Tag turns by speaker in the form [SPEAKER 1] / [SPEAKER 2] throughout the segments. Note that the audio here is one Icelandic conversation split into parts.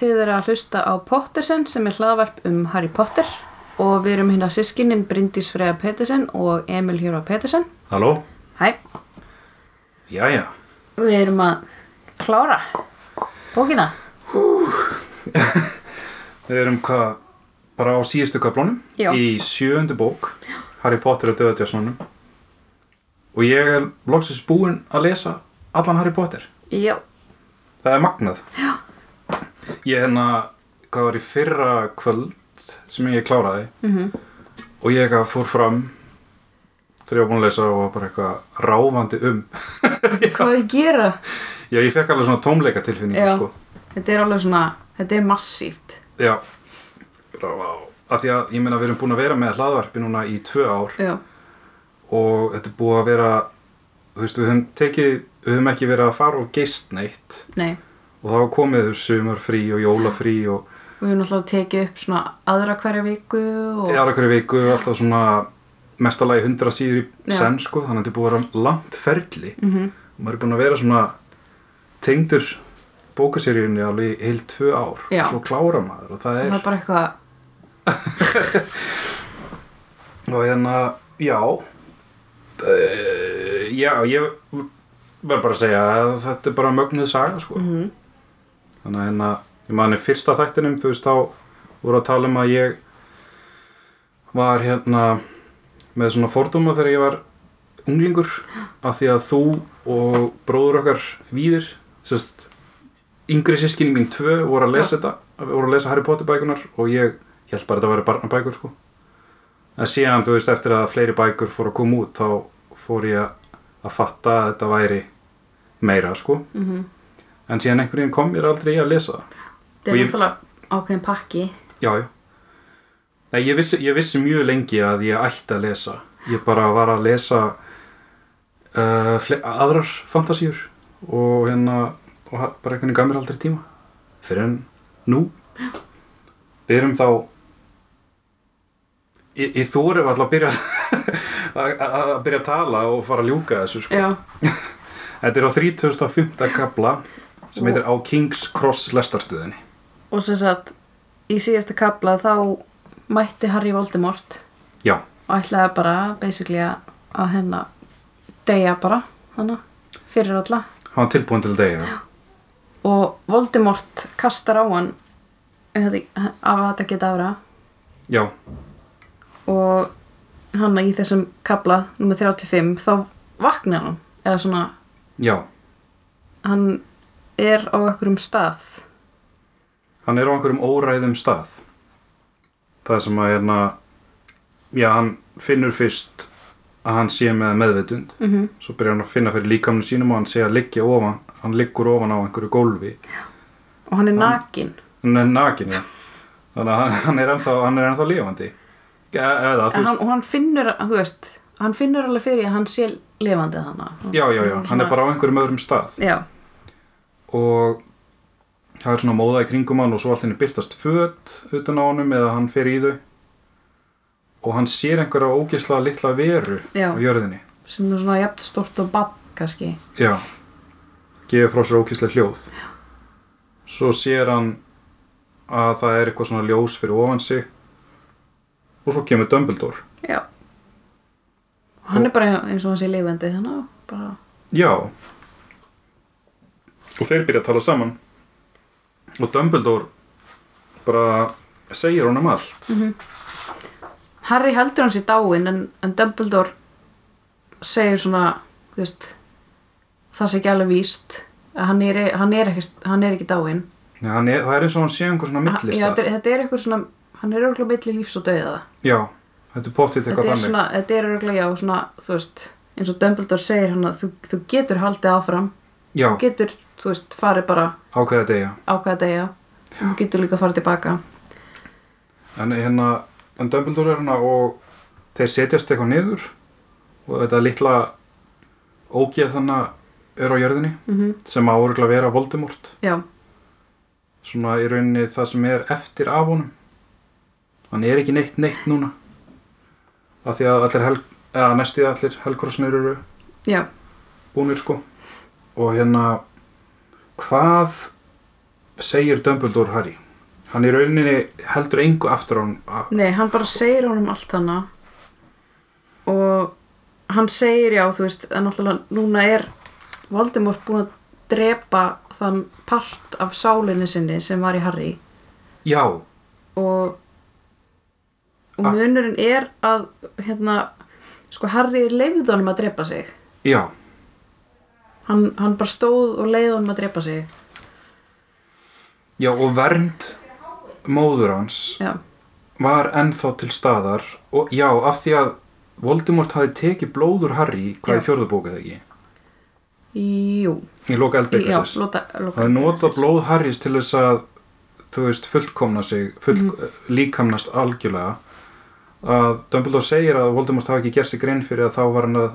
[SPEAKER 1] Þið eru að hlusta á Pottersen sem er hlaðvarp um Harry Potter og við erum hérna sískinin Bryndís Freyja Petersen og Emil Hjóra Petersen.
[SPEAKER 2] Halló?
[SPEAKER 1] Hæ,
[SPEAKER 2] Jæja.
[SPEAKER 1] við erum að klára bókina.
[SPEAKER 2] Við erum hvað, bara á síðustu köflunum
[SPEAKER 1] Já.
[SPEAKER 2] í sjöundu bók Harry Potter og döðutjásnunum og ég er loksins búinn að lesa allan Harry Potter.
[SPEAKER 1] Já,
[SPEAKER 2] Það er magnað. Já. Ég hérna, hvað var í fyrra kvöld sem ég kláraði
[SPEAKER 1] Mhm.
[SPEAKER 2] og ég eitthvað fór fram þegar ég var búinn að lesa og var bara eitthvað ráfandi um.
[SPEAKER 1] hvað við gera?
[SPEAKER 2] Já, ég fekk alveg svona tómleika
[SPEAKER 1] Já.
[SPEAKER 2] tilfinningu, sko.
[SPEAKER 1] Þetta er alveg svona, þetta er massíft.
[SPEAKER 2] Já, bara vá. Af því að ég meina við erum búin að vera með hlaðvarpi núna í tvö ár
[SPEAKER 1] Já,
[SPEAKER 2] og þetta er búið að vera, þú veist, við höfum tekið, við höfum ekki verið að fara og geist neitt
[SPEAKER 1] nei.
[SPEAKER 2] og það var komið þú sumarfrí og jólafrí og
[SPEAKER 1] Við höfum alltaf tekið upp svona aðra hverja viku og...
[SPEAKER 2] í aðra hverju viku alltaf svona mestalagi hundra síður í
[SPEAKER 1] Já.
[SPEAKER 2] senn sko, þannig að þetta er búið að vera langt ferli
[SPEAKER 1] Mm
[SPEAKER 2] og maður er búin að vera svona tengdur bókaseríunni alveg í heil tvö ár
[SPEAKER 1] Já.
[SPEAKER 2] og svo klára maður og það
[SPEAKER 1] Það
[SPEAKER 2] er
[SPEAKER 1] er bara eitthvað,
[SPEAKER 2] Og hérna, já uh, Já, ég verð bara að segja að þetta er bara mögnuð saga, sko
[SPEAKER 1] Mhm.
[SPEAKER 2] Þannig að hérna, ég mani fyrsta þættinum, þú veist, þá voru að tala um að ég var hérna með svona fordóma þegar ég var unglingur af því að þú og bróður okkar víðir, sérst yngri sískinni mín tvö voru að lesa þetta, voru að lesa Harry Potter bækunar og ég held bara að þetta væri barnabækur, sko en síðan þú veist eftir að fleiri bækur fóru að koma út þá fór ég að- að fatta að þetta væri meira sko
[SPEAKER 1] mm
[SPEAKER 2] en síðan einhvern veginn kom mér aldrei í að lesa það
[SPEAKER 1] þetta
[SPEAKER 2] Og
[SPEAKER 1] er
[SPEAKER 2] ég-
[SPEAKER 1] náttúrulega ákveðin pakki.
[SPEAKER 2] já, já Nei, ég, vissi, ég vissi mjög lengi að ég ætti að lesa ég bara var að lesa uh, fle- aðrar fantasíur og hérna og ha- bara einhvern veginn gaf mér aldrei tíma fyrir en nú við erum þá ég, ég þóri alltaf að byrja að, að- að byrja að tala og fara að ljúka þessu sko.
[SPEAKER 1] Já,
[SPEAKER 2] þetta er á 3005. kapla sem heitir á King's Cross lestarstöðinni
[SPEAKER 1] og sem sagt, í síðasta kapla þá mætti Harry Voldemort
[SPEAKER 2] já,
[SPEAKER 1] og ætlaði bara, basically, að- að hérna deyja bara, hana, fyrir alla.
[SPEAKER 2] hann var tilbúin til degi
[SPEAKER 1] Og Voldemort kastar á hann þetta- af að þetta geta afra
[SPEAKER 2] já,
[SPEAKER 1] og hann í þessum kapla, nummer 35, þá vaknar hann, eða svona
[SPEAKER 2] já
[SPEAKER 1] hann er á einhverjum stað
[SPEAKER 2] hann er á einhverjum óræðum stað það sem að hérna já, hann finnur fyrst að hann sé með meðvitund
[SPEAKER 1] mm -hmm.
[SPEAKER 2] svo byrjar hann að finna fyrir líkamni sínum og hann sé að liggja ofan hann liggur ofan á einhverju gólfi
[SPEAKER 1] og hann er nakin
[SPEAKER 2] hann er nakin já. þannig að hann, hann er ennþá, hann er ennþá lifandi E- eða þú
[SPEAKER 1] En
[SPEAKER 2] veist
[SPEAKER 1] hann, og hann finnur, þú veist hann finnur alveg fyrir að hann sé lifandi þannig
[SPEAKER 2] já, já, já, hann er bara á einhverjum öðrum stað
[SPEAKER 1] já,
[SPEAKER 2] og það er svona móða í kringum hann og svo allt henni byrtast föt utan á honum eða hann fer í þau og hann sér einhverja ógisla litla veru
[SPEAKER 1] já,
[SPEAKER 2] á jörðinni
[SPEAKER 1] sem er svona jafn stort og bann kannski
[SPEAKER 2] já gefur frá sér ógislega hljóð svo sér hann að það er eitthvað svona ljós fyrir ofan sig og svo kemur Dumbledore
[SPEAKER 1] já og hann er bara eins og hann sé lifandi þannig bara,
[SPEAKER 2] já og þeir byrja að tala saman og Dumbledore bara segir honum allt
[SPEAKER 1] Harry heldur hann sér dáin en, en Dumbledore segir svona þú veist það sé ekki alveg víst að hann er, hann er, ekki, hann er ekki dáin
[SPEAKER 2] Já, hann er, það er eins og hann sé einhver svona
[SPEAKER 1] Ha- Ah, já,
[SPEAKER 2] millistað.
[SPEAKER 1] þetta, er- þetta er eitthvað svona hann er örgulega milli lífs og dauða
[SPEAKER 2] Já, þetta er pottitt eitthvað
[SPEAKER 1] þetta er
[SPEAKER 2] þannig.
[SPEAKER 1] svona, þetta er örgulega já, svona, þú veist, eins og Dumbledore segir hann að þú, þú getur haldið áfram
[SPEAKER 2] Já,
[SPEAKER 1] þú getur, þú veist, farið bara
[SPEAKER 2] ákveða degja.
[SPEAKER 1] ákveða degja þú getur líka farið tilbaka
[SPEAKER 2] En hérna, en Dumbledore er hérna og þeir setjast eitthvað niður og þetta litla ógeð þannig er á jörðinni
[SPEAKER 1] mm
[SPEAKER 2] sem á örgulega að vera Voldemort.
[SPEAKER 1] já,
[SPEAKER 2] Svona í rauninni það sem er eftir af honum. Hann er ekki neitt neitt núna. Af því að allir helg, eða næstið allir helgkorsnir eru
[SPEAKER 1] já,
[SPEAKER 2] búnir sko og hérna hvað segir Dumbledore Harry hann í rauninni heldur engu aftur á hann a-
[SPEAKER 1] Nei, hann bara segir honum allt hana og hann segir já, þú veist, en náttúrulega núna er Voldemort búin að drepa þann part af sálinni sinni sem var í Harry
[SPEAKER 2] já,
[SPEAKER 1] og og
[SPEAKER 2] Ah.
[SPEAKER 1] munurinn er að hérna, sko Harry leiði honum að drepa sig
[SPEAKER 2] já
[SPEAKER 1] hann, hann bara stóð og leiði honum að drepa sig
[SPEAKER 2] já og vernd móður hans
[SPEAKER 1] já,
[SPEAKER 2] var ennþá til staðar og já, af því að Voldemort hafi tekið blóður Harry hvað
[SPEAKER 1] Já.
[SPEAKER 2] er fjórðabókað ekki?
[SPEAKER 1] jú
[SPEAKER 2] Í loka
[SPEAKER 1] í- já,
[SPEAKER 2] eldbyggasins
[SPEAKER 1] lota, loka
[SPEAKER 2] Það er nota blóð Harrys til þess að þú veist, fullkomna sig full, líkamnast algjörlega að Dumbledore segir að Voldemort hafi ekki gert sig grein fyrir að þá var hann að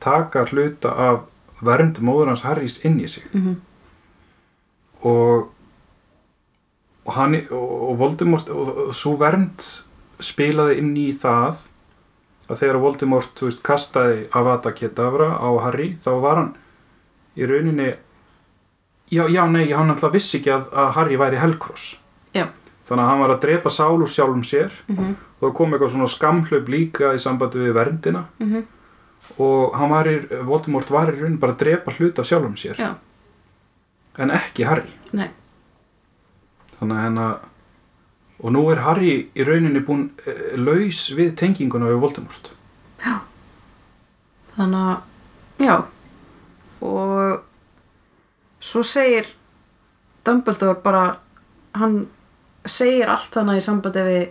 [SPEAKER 2] taka hluta af vernd móður hans Harrys inn í sig
[SPEAKER 1] Mhm.
[SPEAKER 2] og og, hann, og, og Voldemort og, og, og svo vernd spilaði inn í það að þegar Voldemort þú veist, kastaði Avada Kedavra á Harry þá var hann í rauninni já, já, nei, hann alltaf vissi ekki að, að Harry væri Helgros
[SPEAKER 1] Já.
[SPEAKER 2] þannig að hann var að drepa sál úr sjálfum sér
[SPEAKER 1] mm -hmm,
[SPEAKER 2] og það kom eitthvað svona skamhlaup líka í sambandi við verndina
[SPEAKER 1] mhm,
[SPEAKER 2] og hann var í, Voldemort var í raunin bara að drepa hlut af sjálfum sér
[SPEAKER 1] Já.
[SPEAKER 2] en ekki Harry
[SPEAKER 1] Nei.
[SPEAKER 2] þannig að hennar og nú er Harry í rauninni búin eh, laus við tenginguna við Voldemort
[SPEAKER 1] þannig að já og svo segir Dumbledore bara hann segir allt hana í sambandi við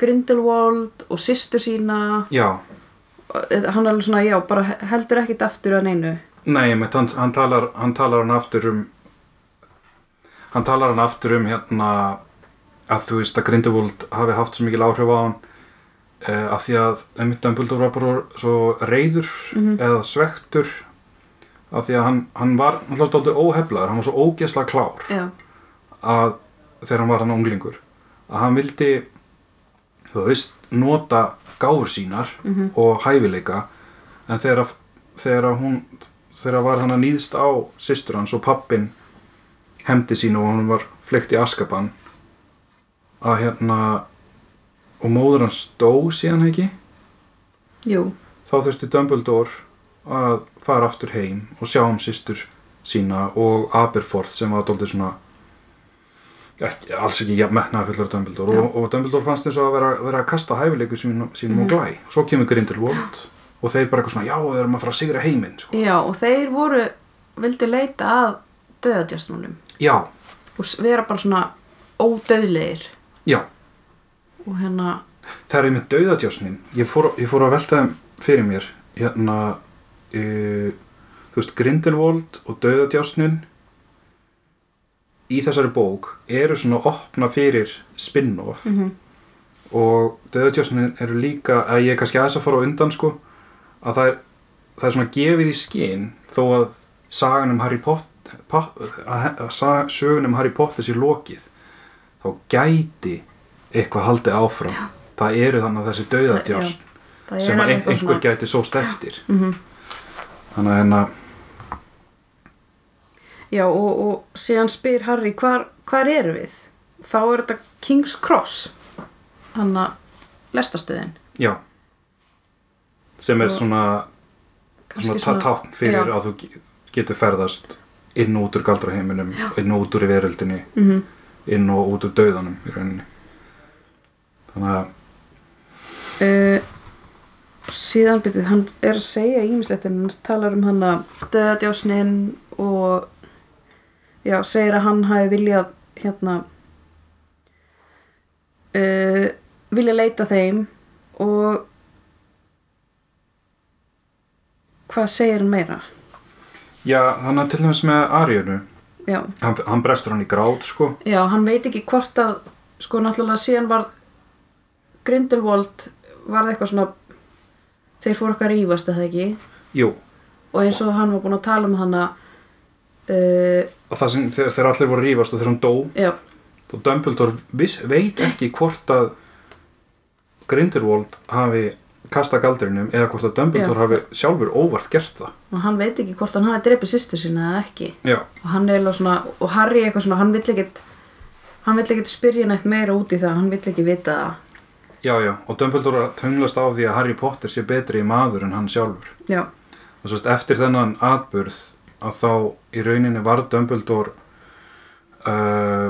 [SPEAKER 1] Grindelwald og sýstur sína
[SPEAKER 2] já,
[SPEAKER 1] og- eða hann er alveg svona já, bara heldur ekkit aftur að neinu
[SPEAKER 2] nei, með, hann, hann, talar, hann talar hann aftur um hann talar hann aftur um hérna að þú veist að Grindelwald hafi haft svo mikil áhrif á hann eh, af því að einmitt Dumbledore var bara svo reyður
[SPEAKER 1] Mhm.
[SPEAKER 2] eða svektur af því að hann, hann var hann hlótt aldrei óheflaður, hann var svo ógesla klár
[SPEAKER 1] já,
[SPEAKER 2] að þegar hann var hann unglingur að hann vildi þú veist, nota gáfur sínar
[SPEAKER 1] Mhm.
[SPEAKER 2] og hæfileika en þegar, að- þegar að hún þegar var hann að nýðst á systur hans og pappin hefndi sín og hann var fleikt í askaban að hérna og móður hans dó síðan ekki
[SPEAKER 1] jú,
[SPEAKER 2] þá þurfti Dumbledore að fara aftur heim og sjá um systur sína og Aberforth sem var doldið svona ekki, alls ekki jafn metnaðafullur af Dumbledore
[SPEAKER 1] Já.
[SPEAKER 2] og, og Dumbledore fannst eins og að vera, vera að kasta hæfileiku sínum, sínum og glæ og svo kemur Grindelwald og þeir bara eitthvað svona já, við erum að fara að sigra heiminn sko.
[SPEAKER 1] já og þeir voru vildu leita að döðadjastmálum
[SPEAKER 2] já,
[SPEAKER 1] og s- vera bara svona ódöðlegir
[SPEAKER 2] já,
[SPEAKER 1] og hérna
[SPEAKER 2] það er einmitt dauðadjásnin ég fór, ég fór að velta þeim fyrir mér hérna uh, þú veist, Grindelwald og dauðadjásnin í þessari bók eru svona opna fyrir spin-off
[SPEAKER 1] mm -hmm,
[SPEAKER 2] og dauðadjásnin eru líka að ég er kannski aðeins að fara á undan sko að það er, það er svona gefið í skinn þó að sagan um Harry Potter pop, að, að sa- sögun um Harry Potter sér lokið þá gæti eitthvað haldið áfram Já. það eru þannig að þessi dauðadjásn
[SPEAKER 1] það
[SPEAKER 2] sem
[SPEAKER 1] alveg
[SPEAKER 2] að ein,
[SPEAKER 1] eitthvað
[SPEAKER 2] einhver
[SPEAKER 1] svona-
[SPEAKER 2] gæti sóst eftir
[SPEAKER 1] Mhm.
[SPEAKER 2] þannig að hérna
[SPEAKER 1] Já, og, og síðan spyr Harry hvar, hvar eru við? Þá er þetta King's Cross hann að lestastöðin
[SPEAKER 2] Já sem er
[SPEAKER 1] Og-
[SPEAKER 2] svona, svona, svona tákn fyrir
[SPEAKER 1] já.
[SPEAKER 2] að þú ge- getur ferðast inn og út úr galdraheiminum inn og út úr í veröldinni
[SPEAKER 1] mm
[SPEAKER 2] inn og út úr dauðanum í rauninni þannig að
[SPEAKER 1] uh, Síðan byrjuð, hann er að segja ímislegt en hann talar um hann að döðadjásnin og já, segir að hann hafi viljað hérna uh, vilja leita þeim og hvað segir hann meira?
[SPEAKER 2] já, þannig að til dæmis með Arjönu
[SPEAKER 1] Já
[SPEAKER 2] hann, hann brestur hann í grát sko
[SPEAKER 1] Já, hann veit ekki hvort að sko náttúrulega síðan varð Grindelwald varð eitthvað svona þeir fóru eitthvað að rífast eða ekki
[SPEAKER 2] jú,
[SPEAKER 1] og eins og hann var búin að tala um hana uh,
[SPEAKER 2] og það sem þegar, þegar allir voru að rífast og þegar hann dó
[SPEAKER 1] já,
[SPEAKER 2] þá Dumbledore viss, veit ekki hvort að Grindelwald hafi kasta galdrinum eða hvort að Dumbledore
[SPEAKER 1] Já.
[SPEAKER 2] hafi sjálfur óvart gert það
[SPEAKER 1] og hann veit ekki hvort hann hafi dreipið sýstur sína eða ekki
[SPEAKER 2] já,
[SPEAKER 1] og hann er eiginlega svona, og Harry eitthvað svona hann vill ekkit Hann vill ekki spyrja neitt meira út í það, hann vill ekki vita það.
[SPEAKER 2] Já, já, og Dumbledore er að tunglast á því að Harry Potter sé betri maður en hann sjálfur.
[SPEAKER 1] Já,
[SPEAKER 2] og svo veist, eftir þennan atburð að þá í rauninni var Dumbledore uh,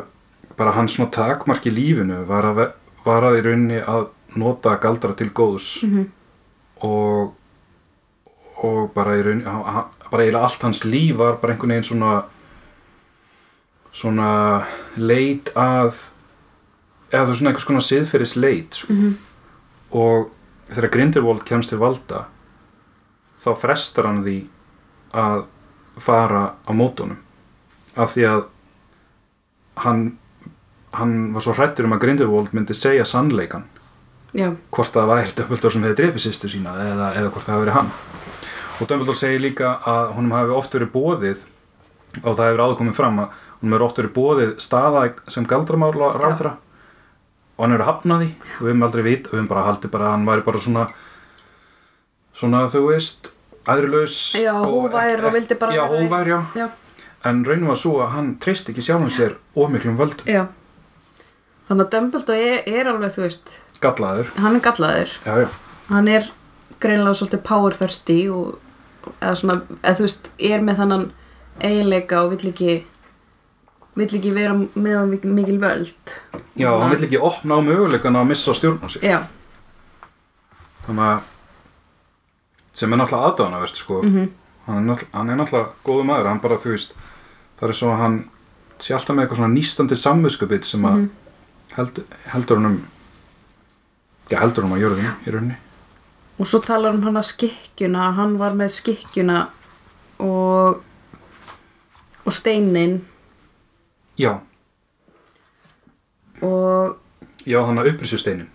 [SPEAKER 2] bara hans svona takmark í lífinu var að, ve- var að í rauninni að nota galdra til góðs
[SPEAKER 1] Mhm.
[SPEAKER 2] og og bara í rauninni hann- hann- bara eiginlega allt hans líf var bara einhvern veginn svona svona leit að eða þú veist, svona einhvers konar siðferðis leit sko.
[SPEAKER 1] Mhm.
[SPEAKER 2] og þegar Grindelwald kemst til valda þá frestar hann því að fara á mótunum af því að hann, hann var svo hrættur um að Grindelwald myndi segja sannleikan
[SPEAKER 1] já,
[SPEAKER 2] hvort það væri Dumbledore sem hefði drepið sýstu sína eða, eða hvort það hefði verið hann og Dumbledore segir líka að honum hafi oft verið bóðið og það hefur áður komið fram að honum hefur oft verið bóðið staða sem galdramála ráðra og hann hefur hafnað því og við höfum aldrei vit og við höfum bara haldið bara að hann væri bara svona svona þú veist æðrulaus
[SPEAKER 1] Já, hógvær og vildi bara
[SPEAKER 2] já,
[SPEAKER 1] vera í-
[SPEAKER 2] hóvær, já.
[SPEAKER 1] já,
[SPEAKER 2] en raunin var svo að hann treyst ekki sjálfum sér of miklum völdum,
[SPEAKER 1] já. Þannig að Dumbledore er, er alveg, þú veist,
[SPEAKER 2] gallaður
[SPEAKER 1] hann er gallaður.
[SPEAKER 2] já, já,
[SPEAKER 1] Hann er greinlega svolítið power thirsty og, eða svona, eða þú veist, er með þannan eiginleika og vill ekki, vill ekki vera með hann mikil- mikil völd.
[SPEAKER 2] já hann vill ekki opna á möguleikan að missa stjórn á sér
[SPEAKER 1] Já,
[SPEAKER 2] þannig að sem er náttúrulega aðdánavert sko.
[SPEAKER 1] Mhm.
[SPEAKER 2] hann, er náttúrulega, hann er náttúrulega góðu maður hann bara þú veist það er svo að hann sé alltaf með eitthvað svona nýstandi samvinskupið sem að held, heldur hann um já heldur hann um að jörðinu í rauninni
[SPEAKER 1] og svo talar um hann hann að skikkjuna hann var með skikkjuna og og steinin
[SPEAKER 2] já,
[SPEAKER 1] og
[SPEAKER 2] já þannig að upprýsusteinin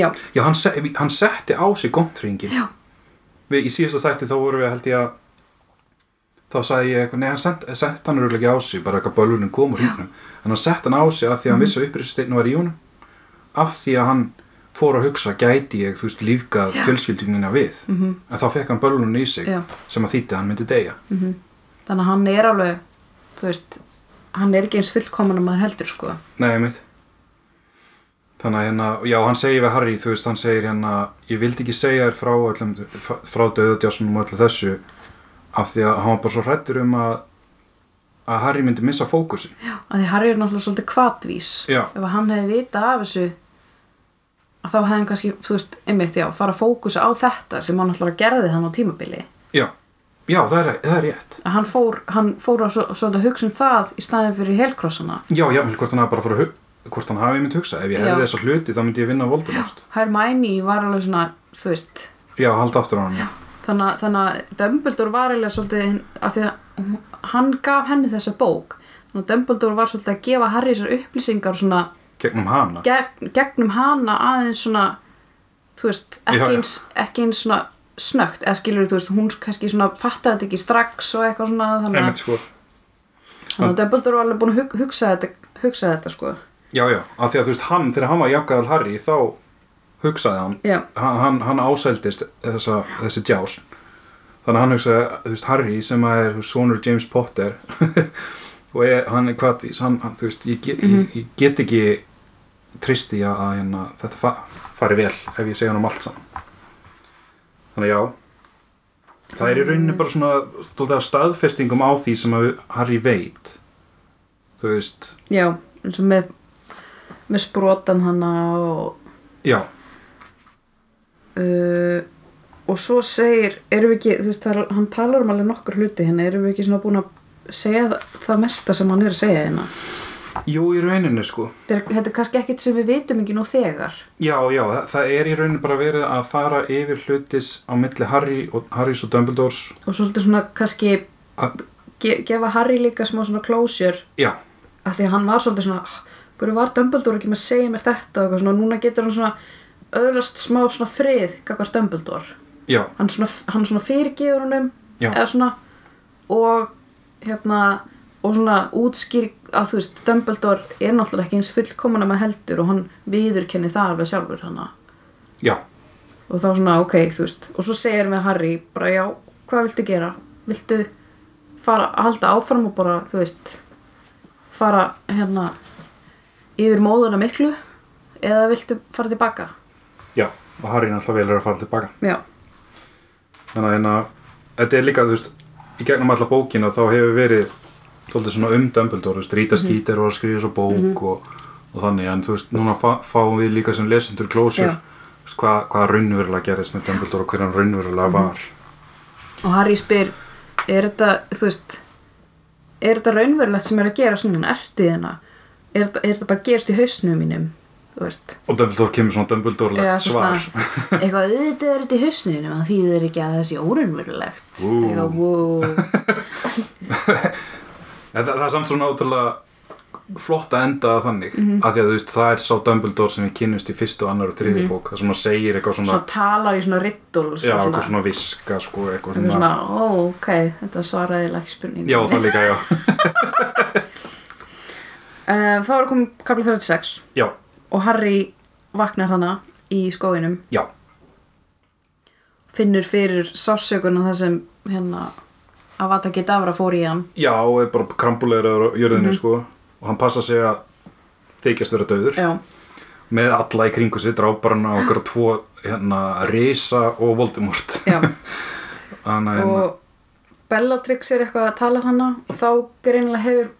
[SPEAKER 1] já,
[SPEAKER 2] já hann, se hann setti á sig gontringin
[SPEAKER 1] Já.
[SPEAKER 2] við í síðasta þætti þá vorum við held ég að þá sagði ég eitthvað, nei hann sett, sett hann örugglega ekki á sig bara eitthvað bölvunin kom úr hýrnum en hann sett hann á sig af því að hann vissi að upprýsusteinu var í honum af því að hann fór að hugsa gæti ég, þú veist, lífgað fjölskyldunina við -hmm. en þá fekk hann bölvunin í sig
[SPEAKER 1] Já.
[SPEAKER 2] sem að þýtti að hann myndi deyja
[SPEAKER 1] þannig að hann er alveg þú veist, hann er ekki eins fullkomin að maður heldur sko
[SPEAKER 2] Nei, mitt Þannig að hérna, já, hann segir við Harry, þú veist, hann segir hérna Ég vildi ekki segja þér frá, öllum, frá döðutjásunum og öllu þessu Af því að hann var bara svo hrættur um að Að Harry myndi missa fókusin
[SPEAKER 1] að því Harry er náttúrulega svolítið kvatvís
[SPEAKER 2] Já.
[SPEAKER 1] ef að hann hefði vita af þessu að þá hefði hann kannski, þú veist, einmitt já, fara að fókusa á þetta sem hann náttúrulega gerði hann á tímabili
[SPEAKER 2] Já, já, það er, það er rétt
[SPEAKER 1] að hann fór, hann fór að svo, svolítið að hugsa um það í staðin fyrir helkrossana
[SPEAKER 2] Já, já, hvort hann hafi bara fór að hu- Hvort hann hafi mynd hugsa, ef ég
[SPEAKER 1] Já.
[SPEAKER 2] hefði þessa hluti þá myndi ég vinna Voldemort
[SPEAKER 1] Hermione var alveg svona, þú veist
[SPEAKER 2] Já, halda aftur á hann, já
[SPEAKER 1] þannig, að- þannig að Dumbledore var eiginlega svolítið hinn- af því að hún- hann gaf henni þessa bók þannig að Dumbledore var svolítið að gefa Harry þessar upplýsingar svona
[SPEAKER 2] Gegnum hana
[SPEAKER 1] gegn, gegnum hana aðeins svona þú veist,
[SPEAKER 2] Já,
[SPEAKER 1] ekki
[SPEAKER 2] já.
[SPEAKER 1] eins, ekki eins svona snögt, eða skilur þú veist hún kannski svona fattaði þetta ekki strax og eitthvað svona þannig
[SPEAKER 2] Einmitt,
[SPEAKER 1] að,
[SPEAKER 2] sko.
[SPEAKER 1] þannig að Dumbledore var alveg búin að hug, hugsa þetta hugsa þetta sko
[SPEAKER 2] Já, já, af því að þú veist, hann, þegar hann var jafngaðal Harry þá hugsaði hann
[SPEAKER 1] Já.
[SPEAKER 2] hann, hann, hann ásældist þessa, þessi djás þannig að hann hugsaði, þú veist, Harry sem að er sonur James Potter og ég, hann er kvatvís hann, hann, þú veist, ég, get, ég, ég get ekki tristi að, að hérna, þetta fa fari vel ef ég segja hann um allt saman þannig að já það er í rauninni bara svona dálítið af staðfestingum á því sem að Harry veit þú veist,
[SPEAKER 1] já, eins og með með sprotan hana og
[SPEAKER 2] já
[SPEAKER 1] uh, og svo segir erum við ekki, þú veist, það, er- hann talar um alveg nokkur hluti hérna, erum við ekki svona búin að segja það, það mesta sem hann er að segja hérna
[SPEAKER 2] Jú, í rauninni sko.
[SPEAKER 1] þetta er, þetta er kannski ekkit sem við vitum ekki nú þegar
[SPEAKER 2] Já, já, það, það er í rauninni bara verið að fara yfir hlutis á milli Harry og, Harrys og Dumbledores.
[SPEAKER 1] og svolítið svona kannski
[SPEAKER 2] Að,
[SPEAKER 1] ge, gefa Harry líka smá svona closure
[SPEAKER 2] já,
[SPEAKER 1] af því að hann var svolítið svona "Ah, hverju var Dumbledore ekki með að segja mér þetta og eitthvað svona, núna getur hann svona öðlast smá svona frið kakvar Dumbledore
[SPEAKER 2] já,
[SPEAKER 1] hann svona, hann svona fyrirgefur honum
[SPEAKER 2] Já.
[SPEAKER 1] eða svona og hérna og svona útskýr að þú veist Dumbledore er náttúrulega ekki eins fullkomun að maður heldur og hann viðurkenni það alveg sjálfur hana
[SPEAKER 2] já,
[SPEAKER 1] og þá svona ok, þú veist og svo segir við Harry bara já, hvað viltu gera? Viltu fara að halda áfram og bara, þú veist fara hérna yfir móðuna miklu eða viltu fara tilbaka
[SPEAKER 2] Já, og Harry náttúrulega velur að fara tilbaka.
[SPEAKER 1] já,
[SPEAKER 2] Þannig að hérna, þetta er líka, þú veist, í gegnum alla bókina þá hefur verið tóltið svona um Dumbledore, þú veist, Rita Skeeter var að skrifa svo bók og, og þannig, en þú veist, núna fá, fáum við líka sem lesendur klósur,
[SPEAKER 1] Já.
[SPEAKER 2] þú veist, hvað, hvað raunverulega gerðist með Dumbledore og hver hann raunverulega var.
[SPEAKER 1] og Harry spyr er þetta, þú veist er þetta raunverulegt sem er að gera svona ertu hérna, er, þetta- er þetta bara gerst í hausnum mínum, þú veist
[SPEAKER 2] Og Dumbledore kemur svona Dumbledore-legt svar.
[SPEAKER 1] eitthvað auðvitað er þetta í hausnum það þýðir ekki að það sé órunverulegt
[SPEAKER 2] Ú.
[SPEAKER 1] eitthvað, wow
[SPEAKER 2] En það, það er samt svona ótrúlega flott að enda það þannig, mm af því að þú veist, það er sá Dumbledore sem við kynnumst í fyrstu, annar og þriði bók, það sem hann segir eitthvað Mhm. svona,
[SPEAKER 1] svona talar í svona riddles
[SPEAKER 2] já,
[SPEAKER 1] og
[SPEAKER 2] eitthvað svona viska, sko, eitthvað
[SPEAKER 1] Þetta er
[SPEAKER 2] svona,
[SPEAKER 1] svona, ó, ok, þetta svaraði ekki spurning.
[SPEAKER 2] já, það líka, já,
[SPEAKER 1] Eh, Þá er komið kapla 36
[SPEAKER 2] já,
[SPEAKER 1] og Harry vaknar hana í skóinum,
[SPEAKER 2] já,
[SPEAKER 1] finnur fyrir sásökun og það sem hérna Avada Kedavra fór í hann.
[SPEAKER 2] já, og er bara krambulegur á jörðinu, sko, og hann passa sig að þykjast vera döður,
[SPEAKER 1] Já,
[SPEAKER 2] með alla í kringu sér, dráparana og okkur tvo, hérna, Risa og Voldemort,
[SPEAKER 1] já.
[SPEAKER 2] þannig, að, hérna,
[SPEAKER 1] og Bellatrix er eitthvað að tala hana og þá greinilega hefur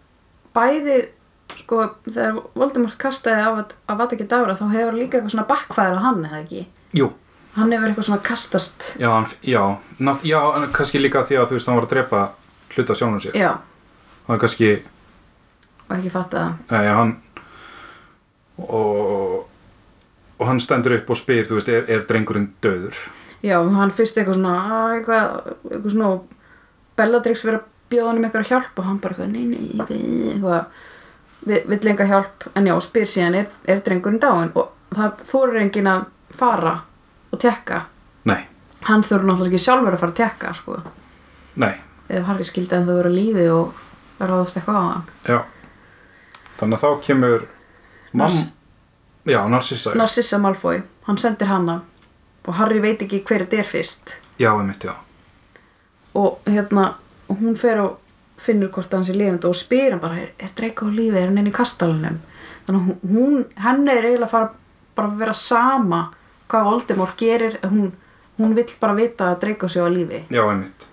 [SPEAKER 1] bæði, sko, þegar Voldemort kastaði Avad- Avada Kedavra þá hefur líka eitthvað svona bakkvæður á hann, eða ekki?
[SPEAKER 2] jú,
[SPEAKER 1] Hann hefur eitthvað svona kastast,
[SPEAKER 2] já, hann, já, nátt, já, en kannski líka því að, þú veist, hann var að drepa hluta sjónum sér,
[SPEAKER 1] já,
[SPEAKER 2] hann kannski,
[SPEAKER 1] og ekki fattaði það.
[SPEAKER 2] Nei, hann og, og hann stendur upp og spyr, þú veist, er, er drengurinn döður?
[SPEAKER 1] Já, hann fyrst eitthvað svona "Ah, eitthvað, eitthvað svona og Bellatrix verið að bjóða hann um eitthvað hjálp og hann bara eitthvað, nei, nei, eitthvað, eitthvað vi- vill enga hjálp, en já, spyr síðan er, er drengurinn dáin og það þorir enginn að fara og tekka,
[SPEAKER 2] Nei,
[SPEAKER 1] hann þorir náttúrulega ekki sjálfur að fara að tekka, sko
[SPEAKER 2] nei,
[SPEAKER 1] ef Harry skildi en það voru lífi og ráðast eitthvað á hann
[SPEAKER 2] já þannig að þá kemur mam,
[SPEAKER 1] Nars-
[SPEAKER 2] já, narsissa Nars
[SPEAKER 1] Narcissa Malfoy, hann sendir hanna og Harry veit ekki hver þetta er fyrst
[SPEAKER 2] já, einmitt, já,
[SPEAKER 1] og hérna og hún fer og finnur hvort hann sé lifandi og spyr hann bara, er, er Draco á lífi, er hann inn í kastalunum þannig að hún, henni er eiginlega að fara bara að vera sama hvað Voldemort gerir hún, hún vill bara vita að Draco sé á lífi
[SPEAKER 2] já, einmitt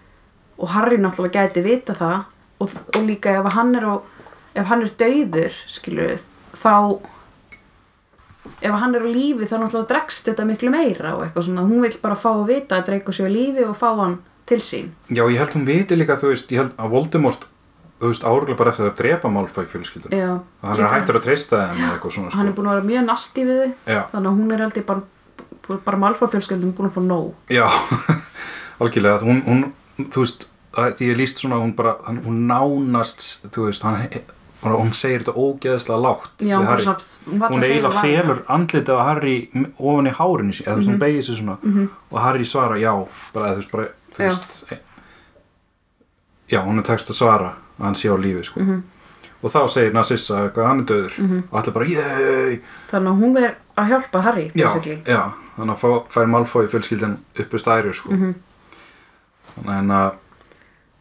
[SPEAKER 1] og Harry náttúrulega gæti vita það og, og líka ef hann er á, ef hann er dauður, skilur við þá ef hann er á lífi þá náttúrulega dregst þetta miklu meira og eitthvað svona, hún vill bara fá að vita að Draco sé á lífi og fá hann til sín
[SPEAKER 2] já, ég held hún viti líka, þú veist, ég held að Voldemort þú veist, áruglega bara eftir að drepa málfæk fjölskyldun,
[SPEAKER 1] Já,
[SPEAKER 2] hann er
[SPEAKER 1] líka-
[SPEAKER 2] hættur að treysta þeim eða eitthvað svona,
[SPEAKER 1] hann er
[SPEAKER 2] sko,
[SPEAKER 1] búin að vera mjög nasti við þau
[SPEAKER 2] Já.
[SPEAKER 1] þannig að hún er heldur bara bara malfrafjölskeldum búin að fá nóg
[SPEAKER 2] já algjörlega, hún, hún þú veist, það- því ég líst svona að hún bara, hann- hún nánast þú veist, hann bara, hún segir þetta ógeðslega lágt
[SPEAKER 1] Já,
[SPEAKER 2] við
[SPEAKER 1] hún bara
[SPEAKER 2] Harry.
[SPEAKER 1] svona- hún varla
[SPEAKER 2] hún eiginlega
[SPEAKER 1] hreyfir varna.
[SPEAKER 2] felur andlitið á Harry m- ofan í hárinu sín, eða þú veist,
[SPEAKER 1] Mhm.
[SPEAKER 2] hún beigir sig svona og Harry svarar já, bara, eða þú veist, bara, þú
[SPEAKER 1] Já.
[SPEAKER 2] veist e- já, hún er tekst að svara að hann sé á lífi, sko
[SPEAKER 1] Mhm.
[SPEAKER 2] og þá segir Narcissa eitthvað, hann er döður og allir bara, yey
[SPEAKER 1] þannig að hún er að hjálpa Harry
[SPEAKER 2] já,
[SPEAKER 1] basically.
[SPEAKER 2] já, þannig að fá, fær Malfoy fjölskyldan uppu stæri, sko
[SPEAKER 1] Mhm.
[SPEAKER 2] þannig að hérna-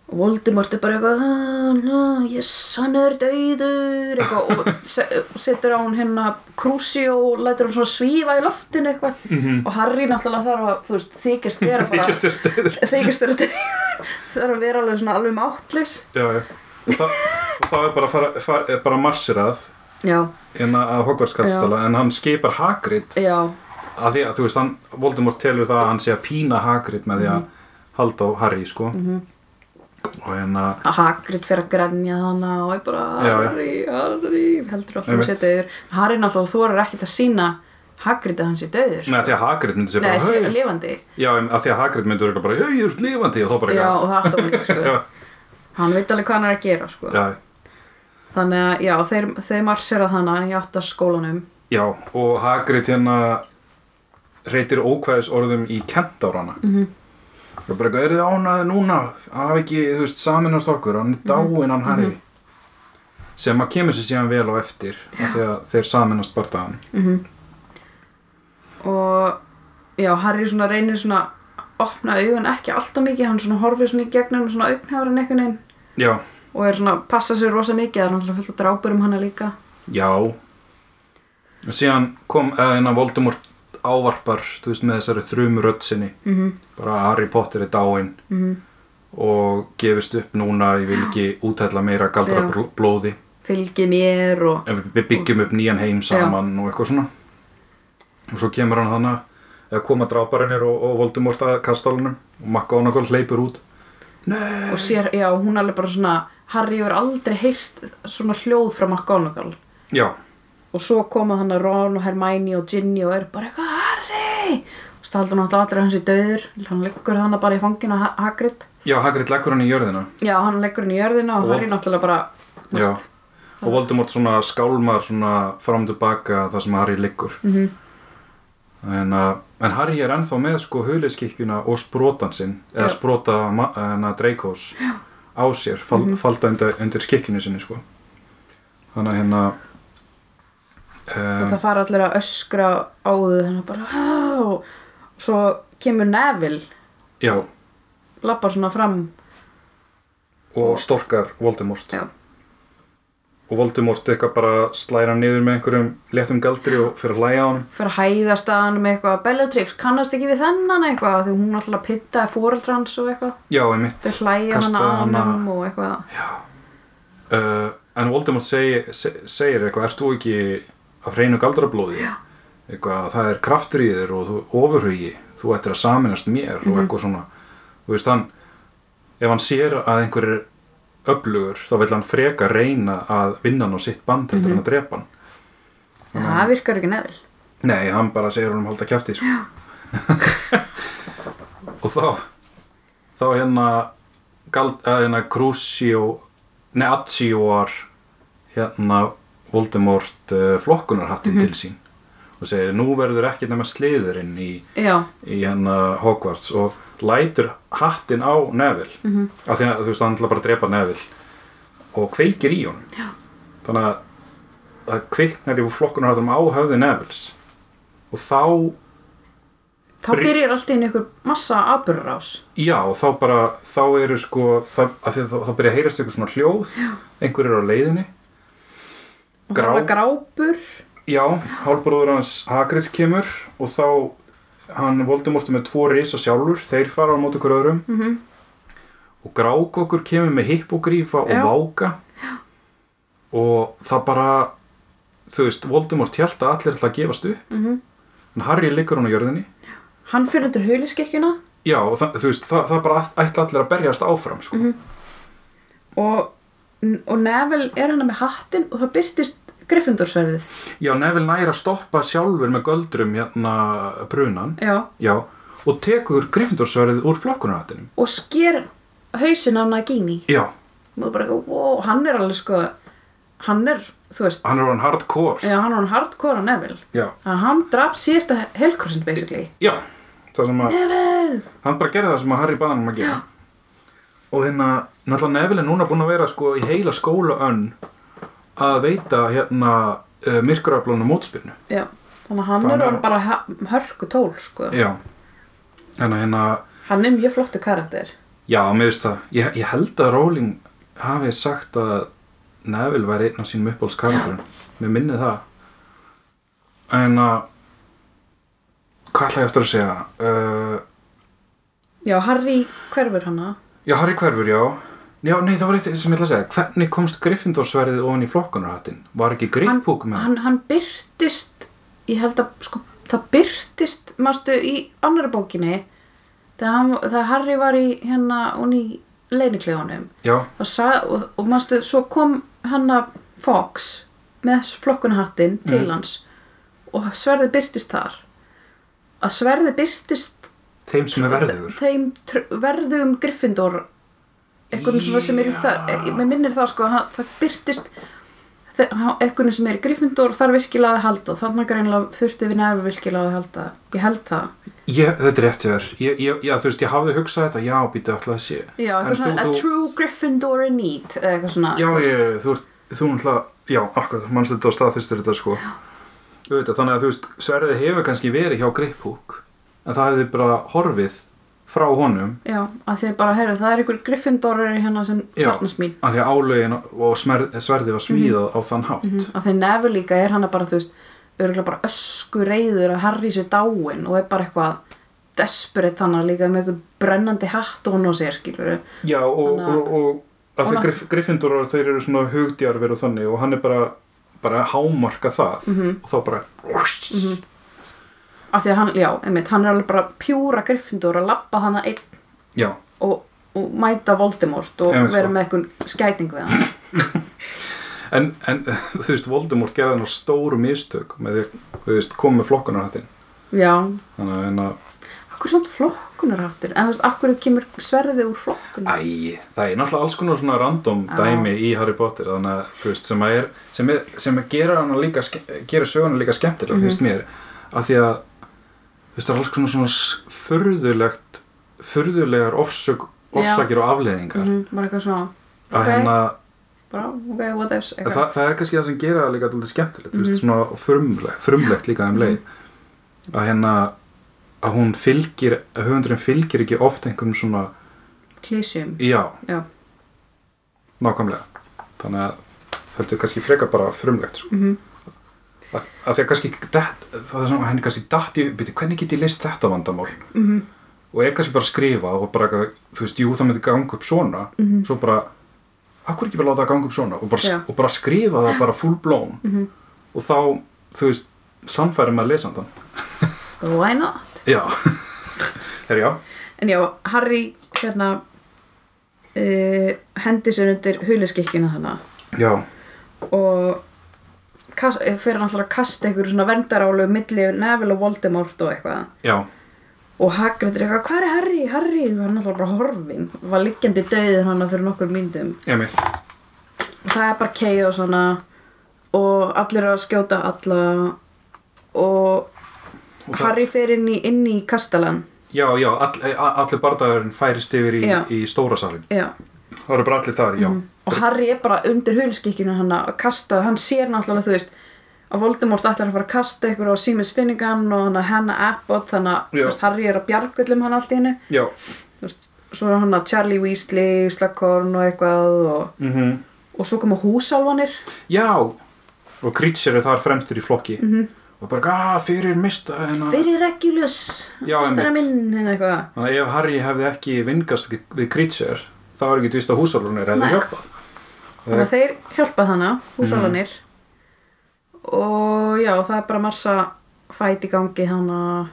[SPEAKER 1] og Voldemort er bara eitthvað "Ah, no, yes, hann er dauður eitthvað, og se- setur á hún hérna krúsi og lætur hún svona svífa í loftinu eitthvað -hmm. og Harry náttúrulega þarf að þú veist, þykist vera bara
[SPEAKER 2] Mhm. þykist þér döður
[SPEAKER 1] þykist vera dauður þarf að vera alveg svona alveg máttlis
[SPEAKER 2] já, já, og þá, og þá er bara, að fara, fara, er bara marsirað
[SPEAKER 1] já,
[SPEAKER 2] hérna að Hogwarts kastala en hann skipar Hagrid
[SPEAKER 1] já,
[SPEAKER 2] að því að þú veist, hann, Voldemort telur það að hann sé að pína Hagrid með því að
[SPEAKER 1] Mhm.
[SPEAKER 2] halda á Harry, sko og hérna,
[SPEAKER 1] að Hagrid fer að grenja þannig og ég bara
[SPEAKER 2] Já, já.
[SPEAKER 1] Harry, Harry heldur alltaf að hann sé
[SPEAKER 2] Einmitt.
[SPEAKER 1] döður Harry náttúrulega þorir ekkert að sína Hagrid að hann sé döður
[SPEAKER 2] neða því að Hagrid myndi sér
[SPEAKER 1] Nei,
[SPEAKER 2] bara,
[SPEAKER 1] sé
[SPEAKER 2] hei,
[SPEAKER 1] lifandi
[SPEAKER 2] já, em, að því að Hagrid myndi verið bara, hei, ég er lifandi og þá bara,
[SPEAKER 1] Já, og það er alltaf mynd,
[SPEAKER 2] Oh já,
[SPEAKER 1] sko Hann veit alveg hvað hann er að gera, sko
[SPEAKER 2] já,
[SPEAKER 1] Þannig að, já, þeir, þeir marsera þannig í áttaskólanum
[SPEAKER 2] já og Hagrid hérna reytir ókvæðis orðum í kentárana mm -hmm. og bara, eru þið ánaði núna hafi ekki, þú veist, saminast okkur hann er dáinn hann Harry sem að kemur sér síðan vel á eftir af því að þeir saminast bara dagann
[SPEAKER 1] og, já, Harry svona reynir svona opna augun ekki alltaf mikið hann svona horfir svona í gegnum svona augnhjáran einhvern veginn
[SPEAKER 2] já,
[SPEAKER 1] og er svona, passa sér rosa mikið það er náttúrulega fullt að drápur um hana líka
[SPEAKER 2] Já og síðan kom eða hérna Voldemort ávarpar þú veist með þessari þrjum rödd sinni
[SPEAKER 1] mm
[SPEAKER 2] bara að Harry Potter er dáinn og gefist upp núna ég vil ekki útælla meira galdra
[SPEAKER 1] Já.
[SPEAKER 2] bl- blóði
[SPEAKER 1] fylgi mér og
[SPEAKER 2] en við- við byggjum upp nýjan heim saman og eitthvað svona og svo kemur hann þannig eða koma dráparinnir og, og Voldemort að kastalunum og McGonagall hleypur út
[SPEAKER 1] og sér, já, hún alveg bara svona Harry hefur aldrei heyrt svona hljóð frá McGonagall
[SPEAKER 2] já,
[SPEAKER 1] og svo koma hann að Ron og Hermione og Ginny og er bara eitthvað Harry og staldur náttúrulega allir að hans í döður hann leggur hann bara í fanginu að Hagrid
[SPEAKER 2] já Hagrid leggur hann í jörðina
[SPEAKER 1] já, hann leggur hann í jörðina og
[SPEAKER 2] Og-
[SPEAKER 1] Harry náttúrulega bara þú
[SPEAKER 2] já.
[SPEAKER 1] veist,
[SPEAKER 2] og Voldemort svona skálmar svona fram og tilbaka þar sem Harry liggur -hmm.
[SPEAKER 1] Mhm.
[SPEAKER 2] en, að- en Harry er ennþá með sko huliskikkjuna og sprotan sinn eða
[SPEAKER 1] Já.
[SPEAKER 2] sprota ma- hana, Dreykos á sér, fal,
[SPEAKER 1] Mhm.
[SPEAKER 2] falda undir, undir skikkjunni sinni sko þannig að hérna
[SPEAKER 1] og
[SPEAKER 2] um,
[SPEAKER 1] það fara allir að öskra á þau hann bara "Ah", og svo kemur Neville
[SPEAKER 2] já,
[SPEAKER 1] lappar svona fram
[SPEAKER 2] og storkar Voldemort
[SPEAKER 1] já,
[SPEAKER 2] og Voldemort eitthvað bara slæra niður með einhverjum léttum galdri og fyrir að hlæja á hann
[SPEAKER 1] fyrir að hæðast að hann með eitthvað Bellatrix kannast ekki við þennan eitthvað því hún alltaf pittaði fóreldra hans og eitthvað
[SPEAKER 2] já, einmitt
[SPEAKER 1] þau hlæja hann
[SPEAKER 2] Kastaði
[SPEAKER 1] að
[SPEAKER 2] hana-
[SPEAKER 1] hann og eitthvað
[SPEAKER 2] uh, en Voldemort segi, se, segir eitthvað, ert þú ekki af hreinu galdrablóði eitthvað, það er kraftur í þér og þú ofurhugi, þú ættir að saminast mér
[SPEAKER 1] Mhm.
[SPEAKER 2] og eitthvað svona þú veist hann, ef hann sér að einhver er öflugur, þá vill hann freka reyna að vinna hann á sitt band heldur
[SPEAKER 1] Mhm.
[SPEAKER 2] hann að drepa hann
[SPEAKER 1] Já, það virkar ekki nefnil
[SPEAKER 2] Nei, hann bara segir honum halda kjafti sko. og þá þá hérna gald, að, hérna Crucio nei, Acioar hérna Voldemort uh, flokkunarhattin til sín og segir, nú verður ekki nema sliðurinn í,
[SPEAKER 1] já,
[SPEAKER 2] í hérna Hogwarts og lætur hattin á Neville -hmm. af því að þú veist, hann ætla bara að drepa Neville og kveikir í honum Já. þannig að það kviknar í flokkunarhattum á höfði Nevilles og þá
[SPEAKER 1] þá byrjar allt í einu ykkur massa atbyrðarás
[SPEAKER 2] Já, og þá bara, þá eru sko, það, að því að þá, þá byrja að heyrast eitthvað svona hljóð, já. einhver eru á leiðinni.
[SPEAKER 1] og
[SPEAKER 2] Grá-
[SPEAKER 1] það var grápur
[SPEAKER 2] Já, hálfbróður hans Hagrids kemur og þá, hann Voldemort er með tvo risa sjálfur, þeir fara á móti hver öðrum. Mm -hmm. Og grákokkur kemur með hippogrífa og
[SPEAKER 1] Já.
[SPEAKER 2] váka. Já. Og það bara, þú veist, Voldemort held að allir ætla að gefast upp. Mm -hmm. En Harry liggur hún á jörðinni.
[SPEAKER 1] hann fyrir undir huliskekkjuna
[SPEAKER 2] Já, og það, þú veist, það, það bara ætla allir að berjast áfram, sko.
[SPEAKER 1] og, og Neville er hann með hattinn og það byrtist Gryffindorsverðið
[SPEAKER 2] Já, Neville næri að stoppa sjálfur með göldrum hérna brunan
[SPEAKER 1] já,
[SPEAKER 2] Já, og tekur Gryffindorsverðið úr flokkunarhatinum
[SPEAKER 1] og sker hausinn á Nagini
[SPEAKER 2] Já,
[SPEAKER 1] og það bara eitthvað, wow, hann er alveg sko hann er, þú veist
[SPEAKER 2] hann er hann hardcore sko.
[SPEAKER 1] já, hann er hann hardcore á Neville
[SPEAKER 2] Já,
[SPEAKER 1] þannig að hann draf síðasta helkrossin basically
[SPEAKER 2] já, það sem að
[SPEAKER 1] Neville
[SPEAKER 2] hann bara gerði það sem að Harry baðan um að gera og hérna, náttúrulega Neville er núna búin að vera sko í heila skóla önn að veita hérna uh, myrkuraflunum mótspyrnu
[SPEAKER 1] já, þannig að hann
[SPEAKER 2] Þannig
[SPEAKER 1] er
[SPEAKER 2] að-
[SPEAKER 1] hann bara hörku tól sko
[SPEAKER 2] Já, þannig að hérna
[SPEAKER 1] hann er mjög flottu karakter
[SPEAKER 2] Já, mér veist það, ég, ég held að Rowling hafi sagt að Neville væri einn af sínum uppbólskarakterum mér minnið það en að hvað ætla ég eftir að segja uh,
[SPEAKER 1] já, Harry hverfur hana
[SPEAKER 2] já, Harry Hverfur, já já, nei, það var eitt sem ég ætla að segja hvernig komst Gryffindorsverðið ofan í flokkunarhattin var ekki Griphook með
[SPEAKER 1] hann, hann byrtist ég held að sko, það byrtist mástu í annara bókinni þegar, hann, þegar Harry var í hérna hún í leinikleganum
[SPEAKER 2] já,
[SPEAKER 1] og, sa- og, og mástu svo kom hanna Fox með flokkunhattinn til hans og sverði byrtist þar að sverði byrtist
[SPEAKER 2] þeim sem er verðugur
[SPEAKER 1] þeim tr- verðugum Gryffindor einhvern svona sem er í það
[SPEAKER 2] Já.
[SPEAKER 1] mér minnir það sko, hann, það byrtist þe- hann- einhvern sem er í Gryffindor þar virkilega að halda, þannig greinlega þurfti við nefnir virkilega að halda, ég held það
[SPEAKER 2] ég, þetta er rétt hjá þér ég, ég, já, þú veist, ég hafði hugsað þetta, já, býttu alltaf að sé
[SPEAKER 1] já,
[SPEAKER 2] En
[SPEAKER 1] eitthvað svona, a true Gryffindor in need eða eitthvað svona
[SPEAKER 2] Já,
[SPEAKER 1] þú veist.
[SPEAKER 2] ég, þú ert, þú náttúrulega, já, akkurat, mannstu þetta á staðfyrstur þetta, sko. Auðvitað, þannig að þú veist, sverðið hefur kannski verið hjá Griphook, en það hefði bara horfið frá honum,
[SPEAKER 1] Já, að þið bara, heyrðu, það er einhver Gryffindorur hérna sem
[SPEAKER 2] Já.
[SPEAKER 1] hjarnast mín
[SPEAKER 2] af því
[SPEAKER 1] Mhm.
[SPEAKER 2] að álögin og smer, sverðið var svíðað á þann hátt.
[SPEAKER 1] Mm, að þið nefur líka er hann að bara, þú veist örgulega bara ösku reyður að Harry sér dáin og er bara eitthvað desperate þannig líka með einhvern brennandi hatt og á sér skilur
[SPEAKER 2] Já, og,
[SPEAKER 1] Þannig að-
[SPEAKER 2] og, og að
[SPEAKER 1] Og
[SPEAKER 2] þeir
[SPEAKER 1] ná-
[SPEAKER 2] grif, griffindurar þeir eru svona hugdjarfir og þannig og hann er bara, bara að hámarka það
[SPEAKER 1] Mhm.
[SPEAKER 2] og þá bara
[SPEAKER 1] af því að hann, já, einmitt, hann er alveg bara pjúra Gryffindor að labba hana einn
[SPEAKER 2] Já,
[SPEAKER 1] og, og mæta Voldemort og
[SPEAKER 2] Einmitt, sko.
[SPEAKER 1] vera með einhvern skæting við hann
[SPEAKER 2] en, en þú veist, Voldemort gerði hann á stóru mistök með því, að, þú veist, kom með flokkunarhattin
[SPEAKER 1] já,
[SPEAKER 2] þannig að, en að,
[SPEAKER 1] akkur samt flokkunarháttur en þú veist, akkur kemur sverðið úr flokkunar
[SPEAKER 2] æ, það er náttúrulega alls konar svona random
[SPEAKER 1] Já.
[SPEAKER 2] dæmi í Harry Potter þannig að, þú veist, sem að er sem, er, sem að gera hana líka, ske- gera söguna líka skemmtilega, þú
[SPEAKER 1] Mhm.
[SPEAKER 2] veist, mér af því að, þú veist, það er alls konar svona s- furðulegt furðulegar orsök
[SPEAKER 1] Já.
[SPEAKER 2] orsakir og afleiðingar
[SPEAKER 1] mm -hmm, bara eitthvað svona,
[SPEAKER 2] að
[SPEAKER 1] ok,
[SPEAKER 2] hérna,
[SPEAKER 1] bara, ok, what ifs
[SPEAKER 2] okay.
[SPEAKER 1] eitthvað.
[SPEAKER 2] það, það er kannski það sem gera það líka alltaf skemmtilegt, þú
[SPEAKER 1] Mhm.
[SPEAKER 2] veist, svona frumlegt, frumlegt líka um leið að hérna að hún fylgir, að höfundurinn fylgir ekki oft einhverjum svona,
[SPEAKER 1] klísjum
[SPEAKER 2] já,
[SPEAKER 1] Já.
[SPEAKER 2] nákvæmlega þannig að þetta er kannski frekar bara frumlegt sko.
[SPEAKER 1] mm -hmm.
[SPEAKER 2] að, að því að kannski det, það er svona, henni kannski datt í, byrju, hvernig get ég leist þetta vandamál
[SPEAKER 1] Mhm.
[SPEAKER 2] og er kannski bara að skrifa og bara, eitthvað, þú veist, jú, það myndi ganga upp svona
[SPEAKER 1] Mhm.
[SPEAKER 2] svo bara, akkur ekki bara láta það ganga upp svona og bara,
[SPEAKER 1] Já.
[SPEAKER 2] og bara skrifa það bara full blown
[SPEAKER 1] Mhm.
[SPEAKER 2] og þá, þú veist, samfæri maður lesandan
[SPEAKER 1] why not
[SPEAKER 2] já, herri já
[SPEAKER 1] En já, Harry hérna uh, hendi sér undir huliskekkinu þannig
[SPEAKER 2] já,
[SPEAKER 1] og kast, eh, fyrir náttúrulega að kasta einhverju svona verndarálu milli Neville og Voldemort og eitthvað
[SPEAKER 2] já,
[SPEAKER 1] og Hagrid er eitthvað, hvað er Harry, Harry og hann er náttúrulega bara horfin var liggjandi döiðin hann fyrir nokkur myndum
[SPEAKER 2] Emil
[SPEAKER 1] og það er bara keið og svona og allir eru að skjóta alla og,
[SPEAKER 2] Og það-
[SPEAKER 1] Harry fer inn í, inn í kastalan
[SPEAKER 2] já, já, all, e, a- allir bardagurinn færist yfir í,
[SPEAKER 1] Já.
[SPEAKER 2] í stóra salin
[SPEAKER 1] já
[SPEAKER 2] það eru bara allir þar, já
[SPEAKER 1] og Harry er bara undir hulskikkinu hann að kasta, hann sér náttúrulega þú veist að Voldemort ætlar að fara að kasta ykkur á Seamus Finnegan og hann að Hannah Abbott þannig að
[SPEAKER 2] Já.
[SPEAKER 1] þú veist, Harry er að bjargullum hann allt í hennu
[SPEAKER 2] já,
[SPEAKER 1] svo er hann að Charlie Weasley, Slughorn og eitthvað og,
[SPEAKER 2] mm
[SPEAKER 1] og svo koma húsálfanir
[SPEAKER 2] já og Creature er þar fremstur í flokki -hmm. og bara, að, fyrir mista hérna." hennar
[SPEAKER 1] Mhm. fyrir Regulus,
[SPEAKER 2] Ah. Já,
[SPEAKER 1] mestra
[SPEAKER 2] einmitt.
[SPEAKER 1] minn hérna eitthvað
[SPEAKER 2] Þannig að ef Harry hefði ekki vingast við- við Creature, þá er ekki vist að húsálfunir hefði
[SPEAKER 1] Nei.
[SPEAKER 2] hjálpað.
[SPEAKER 1] þannig
[SPEAKER 2] Eh.
[SPEAKER 1] að þeir hjálpa þannig húsálanir
[SPEAKER 2] Mm.
[SPEAKER 1] og já það er bara massa fæt í gangi þannig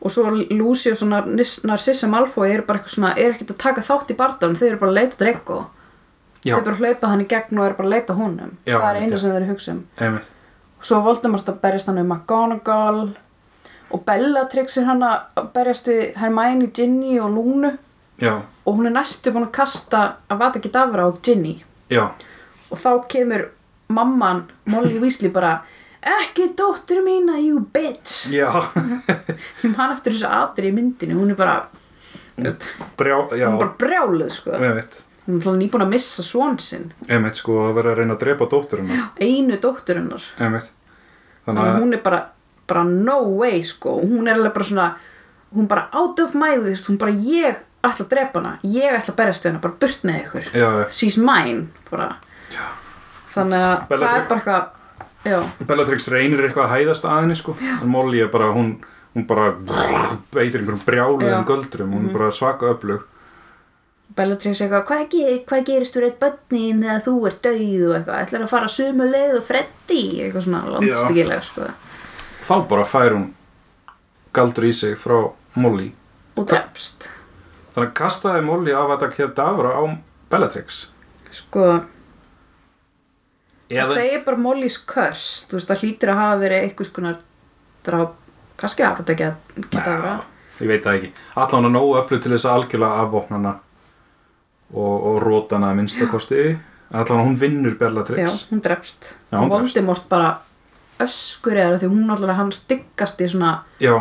[SPEAKER 1] og svo Lucius og Nar- Narcissa Malfoy eru bara eitthvað svona, eru ekkert að taka þátt í barndan þeir eru bara að leita Draco þeir
[SPEAKER 2] Já,
[SPEAKER 1] eru bara að hlaupa hann í gegn og eru bara að leita honum
[SPEAKER 2] Já,
[SPEAKER 1] það er
[SPEAKER 2] einmitt,
[SPEAKER 1] einu
[SPEAKER 2] já.
[SPEAKER 1] sem þeir eru að hugsa um
[SPEAKER 2] einmitt.
[SPEAKER 1] og svo Voldemort að berjast hann um McGonagall og Bellatrix er hann að berjast við Hermione, Ginny og Lúnu
[SPEAKER 2] Já,
[SPEAKER 1] og hún er næstu búin að kasta að vata ekki dafra á Ginny
[SPEAKER 2] já,
[SPEAKER 1] og þá kemur mamman Molly Weasley bara ekki dóttur mína, you bitch
[SPEAKER 2] já,
[SPEAKER 1] ég man eftir þessu atri í myndinu hún er bara, þú veist,
[SPEAKER 2] brjá, já,
[SPEAKER 1] hún er bara brjáluð sko. hún
[SPEAKER 2] einmitt.
[SPEAKER 1] er náttúrulega nýbúin að missa svon sinn
[SPEAKER 2] Einmitt, sko, að vera að reyna að drepa dótturinn.
[SPEAKER 1] einu dóttur hennar
[SPEAKER 2] Einmitt. Þannig
[SPEAKER 1] Þannig að
[SPEAKER 2] að,
[SPEAKER 1] hún er bara, bara no way sko, hún er alveg bara svona hún bara out of my way, þú veist, hún bara ég ætla að drepa hana, ég ætla að berjast við hana bara burt með ykkur,
[SPEAKER 2] já, já.
[SPEAKER 1] she's mine bara þannig að það er
[SPEAKER 2] Bellatrix.
[SPEAKER 1] bara eitthvað já,
[SPEAKER 2] Bellatrix reynir eitthvað að hæðast að henni, sko. En Molly er bara, hún, hún bara beitir einhverjum brjáluðum
[SPEAKER 1] Já. Mhm.
[SPEAKER 2] göldrum, hún er bara svaka öflug.
[SPEAKER 1] Bellatrix eitthvað, hvað, ger, hvað gerist þú reitt bönnin þegar þú ert döið og eitthvað, ætlar að fara sömu leið og Freddy, eitthvað svona landstíkilega sko.
[SPEAKER 2] Þá bara fær hún galdur í sig frá Molly.
[SPEAKER 1] og drefst
[SPEAKER 2] Þannig að kastaði Molly af að þetta kefdavra á Bellatrix.
[SPEAKER 1] sko, það segir bara Molly's curse, þú veist, það hlýtur að hafa verið eitthvað skonar dráp, kannski hafa þetta ekki að geta að
[SPEAKER 2] ég veit það ekki allan að nógu öflug til þess að algjörlega afvopnana og, og rótana að minnstakosti en allan að hún vinnur
[SPEAKER 1] já,
[SPEAKER 2] Bellatrix
[SPEAKER 1] hún drefst
[SPEAKER 2] Já, hún
[SPEAKER 1] og Voldemort bara öskur eða því hún alltaf hann styggast í svona
[SPEAKER 2] já,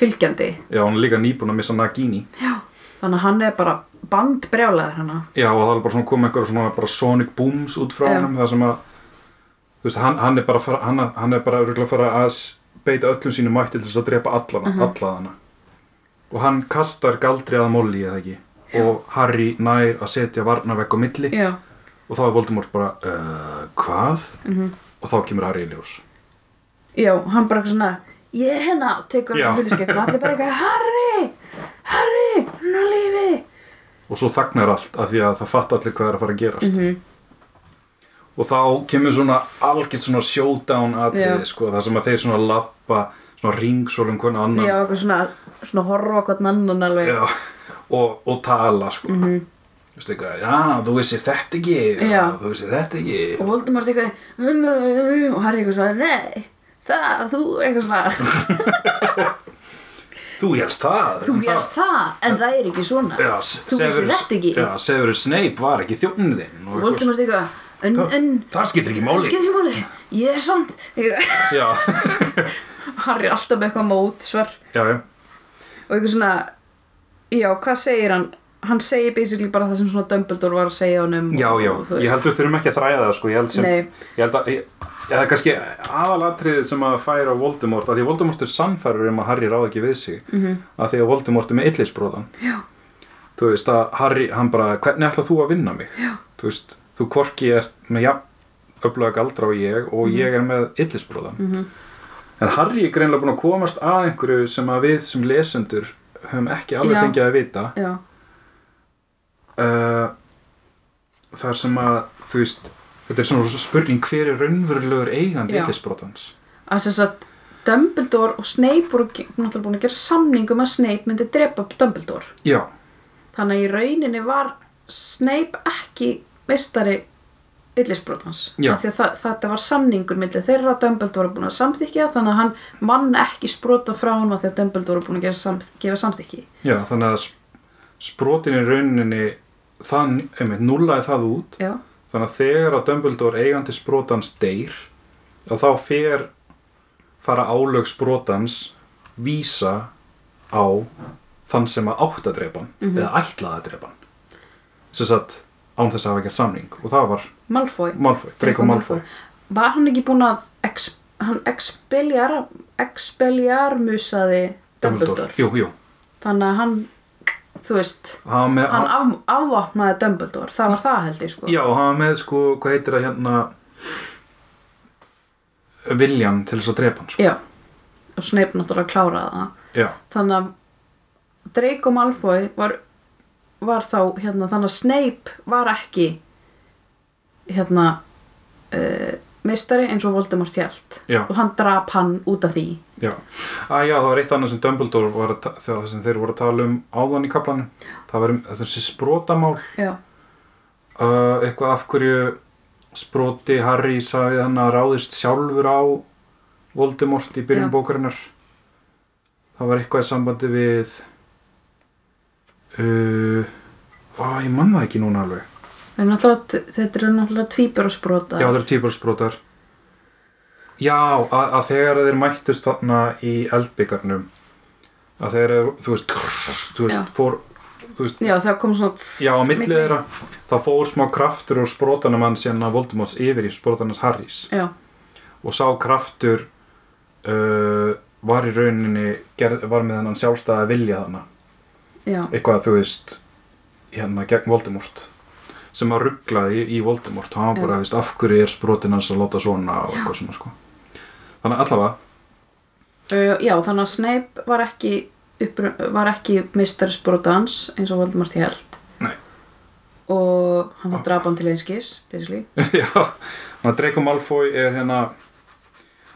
[SPEAKER 1] fylgjandi,
[SPEAKER 2] já, hún er líka nýbúin að missa Nagini
[SPEAKER 1] já, þannig að hann er bara bandbrjálaður hana
[SPEAKER 2] já og það er bara svona komið einhver svona bara sonic booms út frá
[SPEAKER 1] Já.
[SPEAKER 2] honum það sem að þú veist, hann, hann er bara fara, hann, hann er bara örugglega að fara að s- beita öllum sínum mætti til þess að drepa allana,
[SPEAKER 1] Mhm.
[SPEAKER 2] alla hana og hann kastar galdri að Molly eða ekki og Harry nær að setja varnavegg á milli
[SPEAKER 1] já,
[SPEAKER 2] og þá er Voldemort bara uh, hvað?
[SPEAKER 1] mhm
[SPEAKER 2] og þá kemur Harry í ljós
[SPEAKER 1] já, hann bara eitthvað svona ég er hérna, tekur
[SPEAKER 2] Já.
[SPEAKER 1] hann huliskepp og allir bara eitthvað, Harry, Harry hann er á lífi
[SPEAKER 2] og svo þagnar allt af því að það fatt allir hvað er að fara að gerast
[SPEAKER 1] Mhm.
[SPEAKER 2] og þá kemur svona algjört svona showdown atriði
[SPEAKER 1] Já.
[SPEAKER 2] sko, það sem að þeir svona lappa svona ringsólum hvernig annan
[SPEAKER 1] já, eitthvað svona, svona horfa hvern annan alveg
[SPEAKER 2] Já, og, og tala sko mm -hmm. Vistu eitthvað, já, þú vissir þetta ekki
[SPEAKER 1] Mhm. Já.
[SPEAKER 2] þú vissir þetta ekki
[SPEAKER 1] og Voldemort eitthvað "Mm, og Harry eitthvað svona, nei það, þú, eitthvað svona
[SPEAKER 2] Þú helst það
[SPEAKER 1] þú
[SPEAKER 2] en
[SPEAKER 1] gerst það, en það er ekki svona
[SPEAKER 2] það- Já, S-
[SPEAKER 1] Þú vissir
[SPEAKER 2] Severus-
[SPEAKER 1] þetta ekki.
[SPEAKER 2] Já, Severus Snape var ekki þjófnir þinn og
[SPEAKER 1] og
[SPEAKER 2] eitthvað-
[SPEAKER 1] Voldemort eitthvað, en,
[SPEAKER 2] Það-
[SPEAKER 1] en
[SPEAKER 2] Það skiptir ekki máli
[SPEAKER 1] skiptir ekki máli, ég er samt eitthvað.
[SPEAKER 2] Já,
[SPEAKER 1] Harry er alltaf með eitthvað mótsvar
[SPEAKER 2] já, já
[SPEAKER 1] og eitthvað svona já, hvað segir hann hann segir basically bara það sem svona Dumbledore var að segja honum
[SPEAKER 2] Já, já,
[SPEAKER 1] og, þú
[SPEAKER 2] ég
[SPEAKER 1] veist.
[SPEAKER 2] held við þurfum ekki að þræða það sko, ég held sem
[SPEAKER 1] Nei.
[SPEAKER 2] Ég held að, ég, ég, það er kannski aðalatriðið sem að færa Voldemort að því að Voldemort er samfærur um að Harry ráð ekki við sig -hmm. að því að Voldemort er með illisbróðan
[SPEAKER 1] Mhm. Já.
[SPEAKER 2] Þú veist að Harry, hann bara, hvernig ætlað þú að vinna mig? Já. Þú veist, þú hvorki er með jafn öflaga galdra og ég og
[SPEAKER 1] Mhm.
[SPEAKER 2] ég er með illisbróðan -hmm. En Harry er greinlega búin að komast að einhverju sem að við sem lesendur höfum ekki alveg
[SPEAKER 1] Já.
[SPEAKER 2] fengið að vita
[SPEAKER 1] já,
[SPEAKER 2] uh, þar sem að þú veist, þetta er svona spurning hver er raunverulegur eigandi
[SPEAKER 1] Já.
[SPEAKER 2] illisbrotans
[SPEAKER 1] að sem sagt Dumbledore og Snape voru ge- náttúrulega búin að gera samning um að Snape myndi drepa Dumbledore
[SPEAKER 2] já,
[SPEAKER 1] þannig að í rauninni var Snape ekki meistari yllisbrotans
[SPEAKER 2] Já.
[SPEAKER 1] því að það, þetta var samningur milli þeirra Dumbledore var búin að samþykja þannig að hann mann ekki sprota frá hann því að Dumbledore var búin að gera sam, gefa samþykki
[SPEAKER 2] já, þannig að sp sprotin í rauninni þann, einmitt, nullaði það út
[SPEAKER 1] já,
[SPEAKER 2] þannig að þegar að Dumbledore eigandi sprotans deyr að þá fer fara álög sprotans vísa á þann sem að átt að drepa hann eða ætlaði að drepa hann sem sagt án þess að hafa gert samning og það var
[SPEAKER 1] Malfoy
[SPEAKER 2] Malfoy, Draco Malfoy
[SPEAKER 1] Var hann ekki búinn að ex, hann expeljar, expeljarmusaði Dumbledore?
[SPEAKER 2] Jú, jú,
[SPEAKER 1] Þannig að hann, þú veist,
[SPEAKER 2] hann var með,
[SPEAKER 1] hann
[SPEAKER 2] hann,
[SPEAKER 1] af, afvopnaði Dumbledore. Það var það held ég sko.
[SPEAKER 2] já, hann var með sko, hvað heitir það hérna viljan til þess að drepa hann sko.
[SPEAKER 1] Já. Og Snape náttúrulega kláraði það.
[SPEAKER 2] já,
[SPEAKER 1] Þannig að Draco Malfoy var, var þá, hérna, þannig að Snape var ekki, hérna, uh, meistari eins og Voldemort hjælt.
[SPEAKER 2] Já.
[SPEAKER 1] Og hann drap hann út af því.
[SPEAKER 2] já að já, það var eitt annað sem Dumbledore var að ta- þegar sem þeir voru að tala um áðan í kaplanum það var um þessi sprótamál
[SPEAKER 1] Já.
[SPEAKER 2] uh, eitthvað af hverju spróti Harry sagði hann að ráðist sjálfur á Voldemort í byrjun
[SPEAKER 1] Já.
[SPEAKER 2] bókarinnar það var eitthvað í sambandi við uh, á, ég mann það ekki núna alveg
[SPEAKER 1] Það er náttúrulega, þetta eru náttúrulega tvíbur og sprota.
[SPEAKER 2] Já, það eru týpursbrotar Já, að, að þegar þeir mættust þarna í eldbyggarnum að þeir eru, þú veist krrr, þú veist,
[SPEAKER 1] Já.
[SPEAKER 2] fór þú veist,
[SPEAKER 1] Já, það kom svona...
[SPEAKER 2] já, á milli þeirra þá fór smá kraftur úr sprótanum hans en að Voldemorts yfir í sprótanans Harrys
[SPEAKER 1] Já,
[SPEAKER 2] og sá kraftur uh, var í rauninni gerð, var með hennan sjálfstæða vilja þarna
[SPEAKER 1] já,
[SPEAKER 2] eitthvað, þú veist hérna, gegn Voldemort sem að rugglaði í, í Voldemort og hann
[SPEAKER 1] Já.
[SPEAKER 2] bara, þú veist, af hverju er sprotin hans að láta svona og eitthvað svona, sko þannig að allavega,
[SPEAKER 1] uh, já, þannig að Snape var ekki, uppru, var ekki mistari sprotans eins og Voldemort held
[SPEAKER 2] nei, Ah.
[SPEAKER 1] og hann var drapan til einskis, basically.
[SPEAKER 2] já þannig að Draco Malfoy er hérna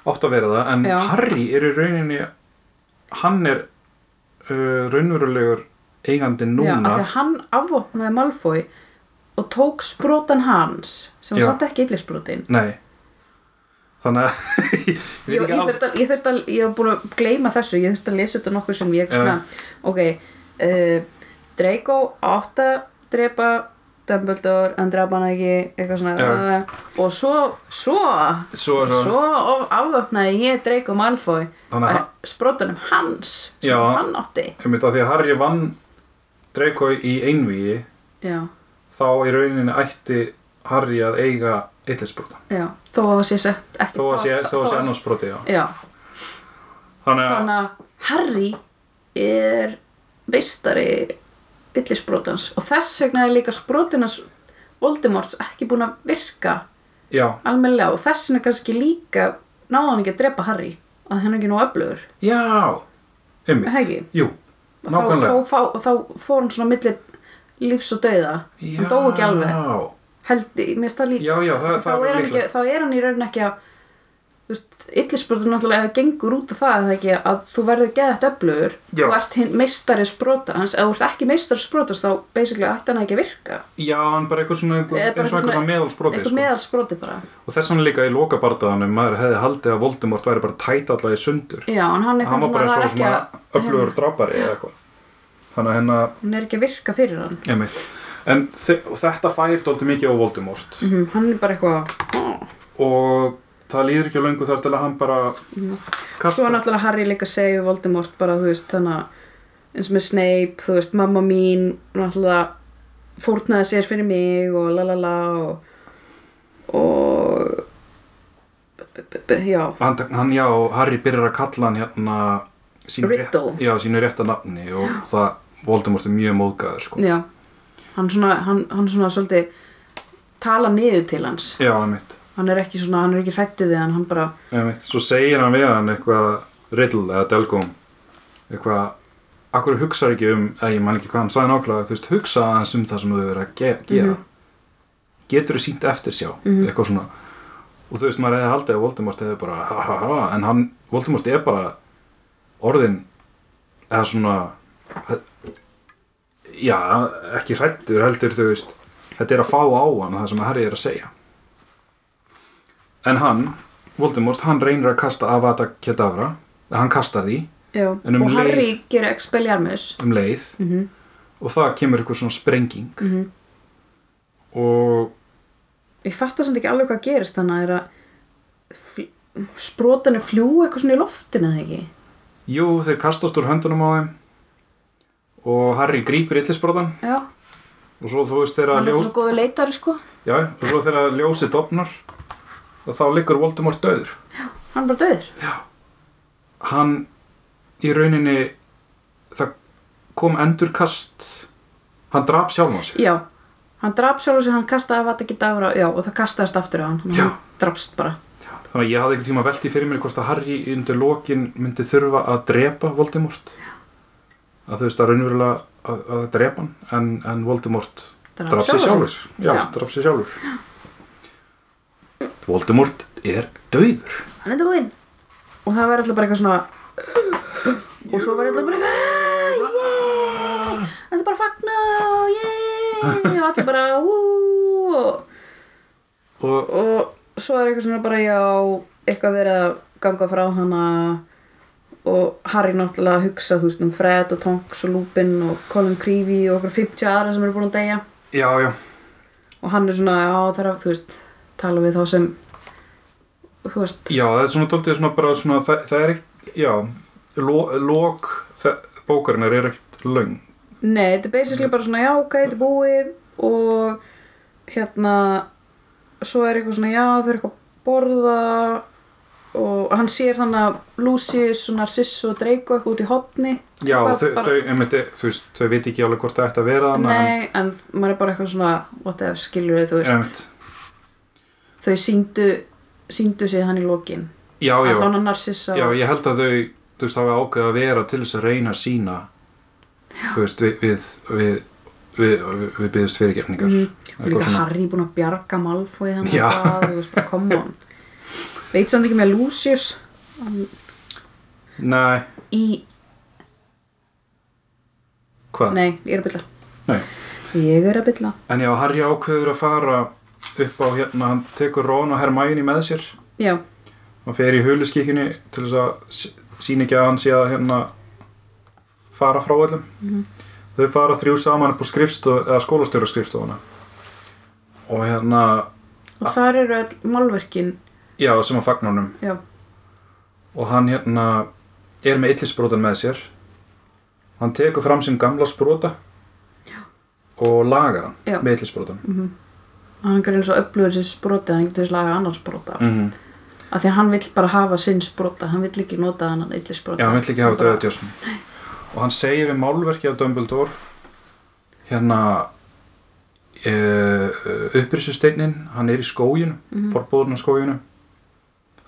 [SPEAKER 2] átt að vera það, en
[SPEAKER 1] Já.
[SPEAKER 2] Harry er í rauninni hann er uh, raunverulegur
[SPEAKER 1] Já,
[SPEAKER 2] eigandi
[SPEAKER 1] af
[SPEAKER 2] núna
[SPEAKER 1] því að hann afvopnaði Malfoy og tók sprotan hans sem
[SPEAKER 2] Já.
[SPEAKER 1] var samt ekki illisbrotin.
[SPEAKER 2] nei þannig að ég, veit
[SPEAKER 1] Ég,
[SPEAKER 2] ekki
[SPEAKER 1] ég,
[SPEAKER 2] al-
[SPEAKER 1] þurft að, ég þurft að, ég var búin að gleyma þessu, ég þurft að lesa þetta nokkuð sem ég
[SPEAKER 2] Já.
[SPEAKER 1] svona, ok, uh, Draco átt að drepa Dumbledore, en drepa hann ekki, eitthvað svona,
[SPEAKER 2] Já.
[SPEAKER 1] uh, og svo, svo,
[SPEAKER 2] svo, svo,
[SPEAKER 1] svo of- afvöfnaði ég Draco Malfoy,
[SPEAKER 2] Þannig að
[SPEAKER 1] að sprotunum hans, sem
[SPEAKER 2] Já.
[SPEAKER 1] hann átti.
[SPEAKER 2] ég myndi að því að Harry vann Draco í einvíi
[SPEAKER 1] Já,
[SPEAKER 2] þá í rauninni ætti Harry að eiga eitlisbrota
[SPEAKER 1] já, þó að það sé sett ekki
[SPEAKER 2] þó að sé,
[SPEAKER 1] fast-
[SPEAKER 2] þó að sé annarsbroti já.
[SPEAKER 1] Já,
[SPEAKER 2] þannig að
[SPEAKER 1] þannig að Harry er veistari yllisbrotans og þess vegna er líka sprotinans Voldemorts ekki búin að virka
[SPEAKER 2] já,
[SPEAKER 1] almennilega og þess vegna kannski líka náði hann ekki að drepa Harry að hann er ekki nóg öflugur
[SPEAKER 2] Já, einmitt.
[SPEAKER 1] Hegi.
[SPEAKER 2] Jú,
[SPEAKER 1] Þá-
[SPEAKER 2] nákvæmlega.
[SPEAKER 1] þá, þá, þá fór hann svona milli lífs og dauða hann dó ekki alveg
[SPEAKER 2] Já,
[SPEAKER 1] held, mér stað líka
[SPEAKER 2] já, já það,
[SPEAKER 1] þá,
[SPEAKER 2] það
[SPEAKER 1] er
[SPEAKER 2] var
[SPEAKER 1] hann ekki,
[SPEAKER 2] líklega.
[SPEAKER 1] þá er hann í raunin ekki að þú veist, illispurður náttúrulega gengur út af það eða ekki að þú verður geðað öflugur
[SPEAKER 2] Já.
[SPEAKER 1] þú ert hinn meistari sprotans ef þú ert ekki meistari sprotans þá basically ætti hann ekki að virka
[SPEAKER 2] Já, en bara eitthvað svona, einhver,
[SPEAKER 1] Eða bara
[SPEAKER 2] eins og eitthvað
[SPEAKER 1] svona-
[SPEAKER 2] svona meðalsbrotið.
[SPEAKER 1] eitthvað
[SPEAKER 2] Sko.
[SPEAKER 1] meðalsproti bara
[SPEAKER 2] Og þess vegna líka í lokabardaðanum, maður hefði haldið að Voldemort væri bara tæt allavega í sundur.
[SPEAKER 1] já, en hann, er
[SPEAKER 2] Hann var
[SPEAKER 1] eitthvað
[SPEAKER 2] bara
[SPEAKER 1] það
[SPEAKER 2] svo
[SPEAKER 1] er ekki
[SPEAKER 2] svona
[SPEAKER 1] að-
[SPEAKER 2] öflugur drápari eða eitthvað. Þannig að hennar
[SPEAKER 1] hann er ekki að virka fyrir hann
[SPEAKER 2] Einmitt. En þe og þetta fær dólti mikið á Voldemort
[SPEAKER 1] Mhm, hann er bara eitthvað "Ó."
[SPEAKER 2] og það líður ekki á löngu þar til að hann bara
[SPEAKER 1] svo
[SPEAKER 2] kastar.
[SPEAKER 1] er náttúrulega Harry líka að segja við Voldemort bara þú veist þannig að eins og með Snape þú veist mamma mín náttúrulega fórnaði sér fyrir mig og la la la og, og b- b- b- já
[SPEAKER 2] hann, hann já, Harry byrjar að kalla hann hérna sínu,
[SPEAKER 1] Riddle.
[SPEAKER 2] já, sínu rétta nafni og það Voldemort er mjög móðgæður sko.
[SPEAKER 1] já hann svona hann, hann svona svolítið tala niður til hans
[SPEAKER 2] Já, einmitt,
[SPEAKER 1] hann er ekki svona hann er ekki hrættu við hann hann bara
[SPEAKER 2] einmitt. Svo segir hann við hann eitthvað Riddle eða Delgum eitthvað Akkur hugsar ekki um, eða ég man ekki hvað hann sagði nákvæmlega, þú veist, hugsa aðeins um það sem þú hefur verið að ge gera.
[SPEAKER 1] Mhm.
[SPEAKER 2] Getur þú sínt eftir sjá, eitthvað svona. Og þú veist, maður hefði haldið að Voldemort hefði bara, ha ha ha, en hann, Voldemort er bara orðin, eða svona, já, ekki hrættur heldur, þú veist, þetta er að fá á hann það sem Harry er að segja. En hann, Voldemort, hann reynir að kasta Avada Kedavra, hann kastar því
[SPEAKER 1] já
[SPEAKER 2] En um
[SPEAKER 1] og Harry
[SPEAKER 2] leið-
[SPEAKER 1] gerir Expelliarmus
[SPEAKER 2] um leið
[SPEAKER 1] Mhm.
[SPEAKER 2] og það kemur eitthvað svona sprenging
[SPEAKER 1] Mhm.
[SPEAKER 2] og
[SPEAKER 1] ég fatta samt ekki alveg hvað gerist þannig er að sprótanu fljú eitthvað svona í loftinu eða ekki
[SPEAKER 2] jú, þeir kastast úr höndunum á þeim og Harry grípir illisbrotan
[SPEAKER 1] já
[SPEAKER 2] og svo þú veist þeirra
[SPEAKER 1] hann er
[SPEAKER 2] ljós
[SPEAKER 1] svo góðu leitari sko
[SPEAKER 2] já, og svo þeirra ljósið dofnar og þá liggur Voldemort döður
[SPEAKER 1] hann er bara döður
[SPEAKER 2] hann í rauninni það kom endurkast hann drap sjálfan sig
[SPEAKER 1] já, hann draf sjálf sig hann kastaði vat ekki dagur já, og það kastaðist aftur á hann Þannig að
[SPEAKER 2] Já.
[SPEAKER 1] hann drafst bara
[SPEAKER 2] þannig að ég hafði einhvern tíma velti fyrir mér hvort að Harry undir lokin myndi þurfa að drepa Voldemort að þú veist að raunverulega að, að drepa hann en, en Voldemort
[SPEAKER 1] Drap
[SPEAKER 2] draf sér
[SPEAKER 1] sjálfan
[SPEAKER 2] sjálfur
[SPEAKER 1] sig.
[SPEAKER 2] já,
[SPEAKER 1] Já.
[SPEAKER 2] draf sér sjálfur Voldemort er döður
[SPEAKER 1] hann er dóinn og það var alltaf bara eitthvað svona og svo var alltaf bara eitthvað "Ah, yeah!" hann er bara að fagna og yeah og allir bara úúúú og,
[SPEAKER 2] og
[SPEAKER 1] og svo er eitthvað svona bara já eitthvað verið að ganga frá hana og Harry náttúrulega að hugsa þú veist um Fred og Tonks og Lupin og Colin Creevy og okkur 50 aðra sem eru búin að deyja
[SPEAKER 2] já, já,
[SPEAKER 1] og hann er svona, já það er að, þú veist tala við þá sem þú veist,
[SPEAKER 2] já, það er svona dálítið svona bara svona, það, það er ekkert, já lo, lok það- bókarinnar er ekkert löng
[SPEAKER 1] nei, þetta er basically bara svona já, ok, þetta er búið og hérna svo er eitthvað svona, já, þau eru eitthvað að borða og hann sér hann að Lucius og Narcissus og Draco eitthvað út í hotni
[SPEAKER 2] já,
[SPEAKER 1] Bara-
[SPEAKER 2] þau,
[SPEAKER 1] bara-
[SPEAKER 2] þau, einmitt, þú veist, þau veit ekki alveg hvort það ætti að vera þannig
[SPEAKER 1] nei, en maður er bara eitthvað svona what the skilur þau, þú veist þau síndu, síndu sig hann í lokin
[SPEAKER 2] já, já,
[SPEAKER 1] allan að Narcissa
[SPEAKER 2] Já, ég held að þau, þú veist, hafa ákveð að vera til þess að reyna að sína, þú veist, við, við, við, við, við, við byggðist fyrirgefningar.
[SPEAKER 1] Mhm.
[SPEAKER 2] Eitthvað
[SPEAKER 1] Líka
[SPEAKER 2] svona.
[SPEAKER 1] Harry búinn að bjarga Malfoy þannig
[SPEAKER 2] Já.
[SPEAKER 1] að þú veist bara, come on Veit samt ekki með Lucius
[SPEAKER 2] Nei,
[SPEAKER 1] í,
[SPEAKER 2] hvað?
[SPEAKER 1] nei, ég er að bylla
[SPEAKER 2] Nei.
[SPEAKER 1] Ég er að bylla
[SPEAKER 2] En já, Harry ákveður að fara upp á hérna, hann tekur Ron og Hermæni með sér,
[SPEAKER 1] Já,
[SPEAKER 2] hann fer í huliskikinu til þess að sína ekki að hann sé að hérna fara frá öllum.
[SPEAKER 1] Mhm.
[SPEAKER 2] Þau fara þrjú saman upp á skrifstof, eða skólastjóra skrifstofuna. Og hérna,
[SPEAKER 1] og þar eru all málverkin
[SPEAKER 2] já, sem að fagna honum.
[SPEAKER 1] Já,
[SPEAKER 2] og hann hérna er með illisbrotan með sér hann tekur fram sinn gamla sprota og lagar hann
[SPEAKER 1] Já.
[SPEAKER 2] með illisbrotan mm
[SPEAKER 1] hann er eins og öflugur sér sprota hann getur þess laga annan sprota mm.
[SPEAKER 2] -hmm.
[SPEAKER 1] af því að hann vill bara hafa sinn sprota hann vill ekki nota hann illi sprota
[SPEAKER 2] já, hann vill ekki hafa
[SPEAKER 1] bara-
[SPEAKER 2] döðu djósum og hann segir við málverki af Dumbledore hérna eh, uh, upprissusteinin hann er í skóginu, mm -hmm. forbóðun á skóginu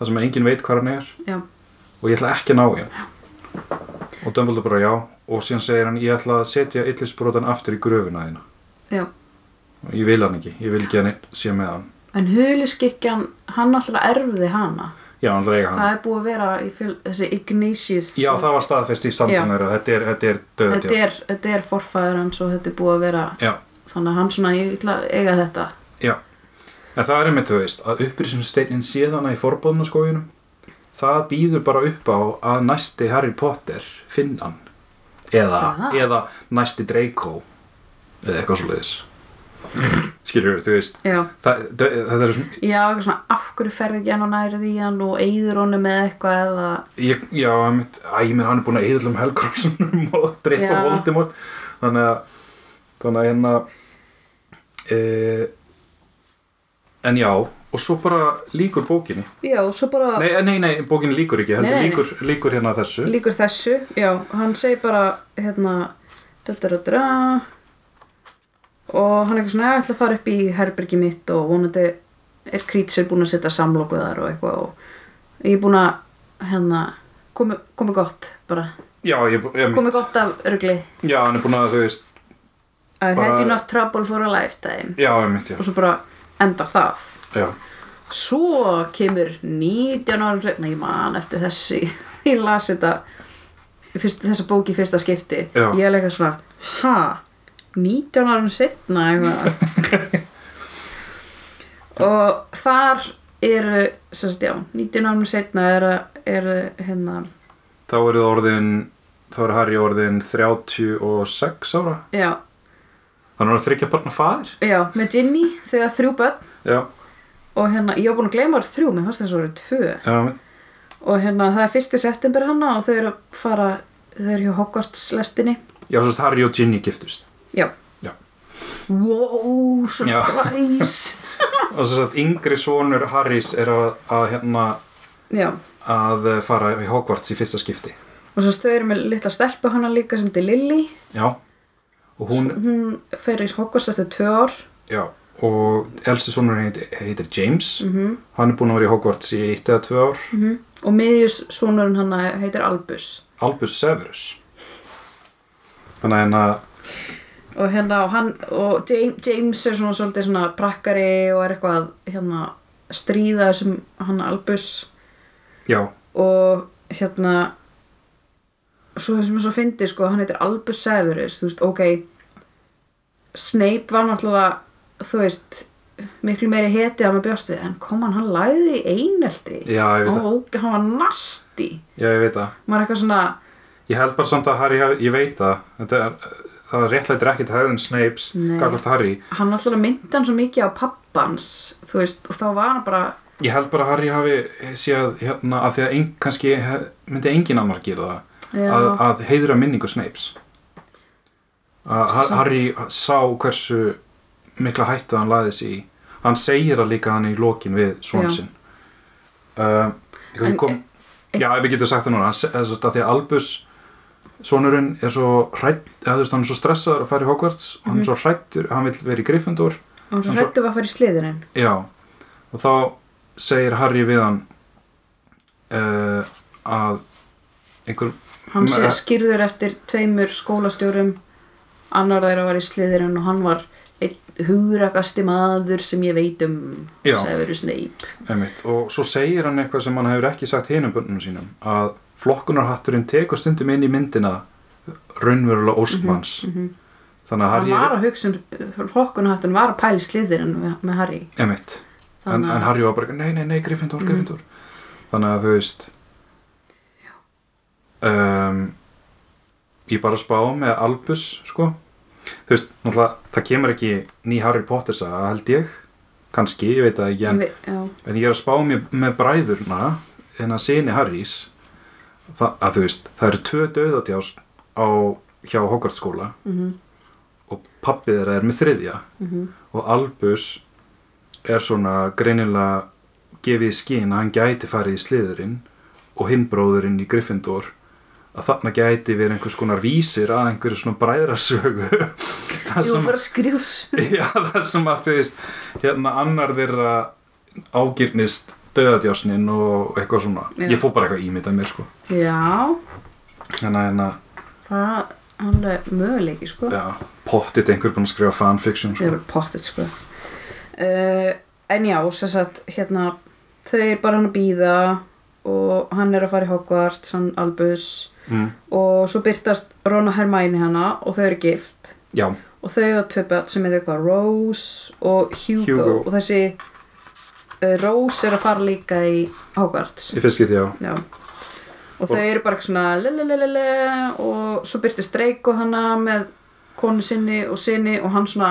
[SPEAKER 2] það sem enginn veit hvað hann er
[SPEAKER 1] já,
[SPEAKER 2] og ég ætla ekki að ná í hann og Dumbledore bara já og síðan segir hann ég ætla að setja illisbrotan aftur í gröfuna þína
[SPEAKER 1] já.
[SPEAKER 2] og ég vil hann ekki, ég vil ekki að hann sé með hann
[SPEAKER 1] En huliskikkjan, hann alltaf erfði hana.
[SPEAKER 2] já, hann ætla að eiga hann
[SPEAKER 1] Það er búið að vera í fjöl, þessi Ignatius.
[SPEAKER 2] já, það var staðfest í samtíma þeirra þetta er, þetta er döðt
[SPEAKER 1] þetta er, þetta er forfæður hans og þetta er búið að vera,
[SPEAKER 2] já,
[SPEAKER 1] þannig að hann svona, ég ætla að eiga þetta.
[SPEAKER 2] já en það er einmitt, þú veist, að upprýsumsteinin sé þannig í forbóðnaskóginum það býður bara upp á að næsti Harry Potter finn hann eða,
[SPEAKER 1] Það?
[SPEAKER 2] eða næsti Draco eða eitthvað svoleiðis skilur þú veist
[SPEAKER 1] Já,
[SPEAKER 2] það, það er svona
[SPEAKER 1] já, eitthvað svona, af hverju ferði ekki hann og nærið í hann og eyður honum með eitthvað eða,
[SPEAKER 2] Ég, já, einmitt, æ, ég menn hann er búin að eðla um Helgrósunum og dreipa
[SPEAKER 1] Já.
[SPEAKER 2] Voldemort þannig að þannig að hérna e, en já og svo bara líkur bókinni
[SPEAKER 1] já, og svo bara
[SPEAKER 2] nei, nei, nei, bókinni líkur ekki heldur,
[SPEAKER 1] Nei, nei, nei.
[SPEAKER 2] líkur, líkur hérna þessu
[SPEAKER 1] líkur þessu, já, hann segir bara, hérna, döttaröldra og hann er eitthvað svona, ég ætla að fara upp í herbergi mitt og vonandi er Creature búin að setja samloku þar og eitthvað og ég er búin að, hérna, komi, komi gott bara,
[SPEAKER 2] já, ég, ég,
[SPEAKER 1] komi gott af örgli
[SPEAKER 2] já, hann er búin að þú veist
[SPEAKER 1] I've had
[SPEAKER 2] Bara-
[SPEAKER 1] enough trouble for a lifetime
[SPEAKER 2] já, einmitt, já,
[SPEAKER 1] og svo bara endar það
[SPEAKER 2] já.
[SPEAKER 1] svo kemur 19 árum seinna, ég man eftir þessi ég las þetta í fyrst, þessa bók í fyrsta skipti
[SPEAKER 2] Já.
[SPEAKER 1] ég er leika svona, ha 19 árum setna og þar eru sérst, já, 19 árum setna eru, eru hérna,
[SPEAKER 2] þá eru það orðin þá er Harry orðin 36 ára
[SPEAKER 1] já,
[SPEAKER 2] hann er að þryggja barna faðir
[SPEAKER 1] já með Ginny þegar þrjú börn
[SPEAKER 2] já,
[SPEAKER 1] og hérna, ég var búin að gleyma þar þrjú, mér fannst þess að voru tvö
[SPEAKER 2] já, einmitt.
[SPEAKER 1] og hérna, það er fyrsti september hana og þau eru að fara, þau eru hjá Hogwarts lestinni
[SPEAKER 2] já, svo að Harry og Ginny giftust
[SPEAKER 1] Já.
[SPEAKER 2] Já.
[SPEAKER 1] Wow,
[SPEAKER 2] Já.
[SPEAKER 1] surprise!
[SPEAKER 2] og þess að yngri svonur Harrys er að, að hérna
[SPEAKER 1] Já.
[SPEAKER 2] að eh, fara í Hogwarts í fyrsta skipti
[SPEAKER 1] Og svo stöður með litla stelpu hana líka sem til Lilly.
[SPEAKER 2] já og hún,
[SPEAKER 1] Hún fer í Hogwarts eftir tvö ár.
[SPEAKER 2] já og elsti svonur heit, heitir James -hmm. hann er búinn að vera í Hogwarts í eitt eða tvö ár
[SPEAKER 1] Mm -hmm. Og miðjus sonurinn hana heitir Albus.
[SPEAKER 2] Albus Severus þannig að hérna
[SPEAKER 1] Og hérna, og hann, og James, James er svona svolítið svona prakkari og er eitthvað að, hérna stríða þessum hann Albus
[SPEAKER 2] já,
[SPEAKER 1] og hérna svo sem ég svo fyndi sko, hann heitir Albus Severus, þú veist, ok Snape var náttúrulega þú veist, miklu meiri heti að maður bjóst við, en kom hann, hann læði í einelti,
[SPEAKER 2] já, ég veit
[SPEAKER 1] hann,
[SPEAKER 2] það
[SPEAKER 1] var óge- hann var nasti,
[SPEAKER 2] já, ég veit það
[SPEAKER 1] maður er eitthvað svona
[SPEAKER 2] ég held bara samt að Harry, hafi- ég veit það þetta er, það réttlætir ekkit höfðun Snapes
[SPEAKER 1] Nei.
[SPEAKER 2] gagvart Harry
[SPEAKER 1] hann náttúrulega myndi hann svo mikið á pappans þú veist, og þá var hann bara
[SPEAKER 2] Ég held bara að Harry hafi séð hérna að því að ein, kannski he- myndi engin annar gera það
[SPEAKER 1] Já.
[SPEAKER 2] að, að heiðra minningu Snapes að Har-
[SPEAKER 1] Samt.
[SPEAKER 2] Harry sá hversu mikla hættu hann laðið sér í hann segir það líka hann í lokin
[SPEAKER 1] Já.
[SPEAKER 2] við svona sinn uh, ég
[SPEAKER 1] En-
[SPEAKER 2] kom,
[SPEAKER 1] e-
[SPEAKER 2] Já, við getum sagt það núna hann, se- þess að því að Albus sonurinn er svo hrætt eða þú veist hann er svo stressaður að fara í Hogwarts og
[SPEAKER 1] Mhm.
[SPEAKER 2] hann er svo hrættur, hann vil vera í Gryffindor
[SPEAKER 1] hann var svo
[SPEAKER 2] Hann svo-
[SPEAKER 1] hrættu að fara í sliðurinn
[SPEAKER 2] Já, og þá segir Harry við hann uh, að einhver,
[SPEAKER 1] hann sé
[SPEAKER 2] Ma-
[SPEAKER 1] skýrður eftir tveimur skólastjórum annar þeirra var í sliðirinn og hann var einn hugrakasti maður sem ég veit um
[SPEAKER 2] Já.
[SPEAKER 1] Severus Snape
[SPEAKER 2] einmitt, og svo segir hann eitthvað sem hann hefur ekki sagt hinum bönnum sínum að flokkunarhatturinn tekur stundum inn í myndina raunverulega óskmanns þannig
[SPEAKER 1] Mhm. hann
[SPEAKER 2] að Harry
[SPEAKER 1] var
[SPEAKER 2] er,
[SPEAKER 1] að hugsa um hlokkunhattun var að pæla í sliðirinn með, með Harry
[SPEAKER 2] einmitt en,
[SPEAKER 1] Þannig að-
[SPEAKER 2] en Harry var bara, nei, nei, nei, Gryffindor, Gryffindor þannig að þú veist um, ég bara spá með Albus, sko þú veist, náttúrulega, það kemur ekki ný Harry Potter saga, held ég kannski, ég veit það ekki
[SPEAKER 1] Ég
[SPEAKER 2] en,
[SPEAKER 1] veit- já,
[SPEAKER 2] en ég er að spá með, með bræðurna en að sinni Harrys það, að þú veist, það eru tvö döðatjás á, hjá Hogwarts skóla
[SPEAKER 1] mhm,
[SPEAKER 2] og pappið þeirra er með þriðja
[SPEAKER 1] mhm,
[SPEAKER 2] og Albus er svona greinilega gefið í skín að hann gæti farið í sliðurinn og hinn bróðurinn í Gryffindor að þarna gæti verið einhvers konar vísir að einhverju svona bræðrasögu það
[SPEAKER 1] jú
[SPEAKER 2] sem,
[SPEAKER 1] fyrir skrifs
[SPEAKER 2] já, það sem að þú veist hérna annar þeirra ágirnist döðadjásnin og eitthvað svona
[SPEAKER 1] Já.
[SPEAKER 2] ég fór bara eitthvað að ímynda mér sko
[SPEAKER 1] Já,
[SPEAKER 2] en að, en að
[SPEAKER 1] það hann er möguleiki sko.
[SPEAKER 2] já, pottit einhver búinn að skrifa fanfiction
[SPEAKER 1] Þau
[SPEAKER 2] sko.
[SPEAKER 1] eru pottet sko. Uh, en já, sem sagt, hérna, þau eru bara hann að býða og hann er að fara í Hogwarts, hann Albus
[SPEAKER 2] mm.
[SPEAKER 1] og svo byrtast Ron og Hermæni hana og þau eru gift
[SPEAKER 2] já,
[SPEAKER 1] og þau eru tvö börn sem heitir eitthvað Rose og Hugo,
[SPEAKER 2] Hugo.
[SPEAKER 1] og þessi uh, Rose er að fara líka í Hogwarts.
[SPEAKER 2] ég finnst getið já
[SPEAKER 1] Já. Og þau eru bara eitthvað svona lelelelele og svo byrtist Dreiko hana með konu sinni og sinni og hann svona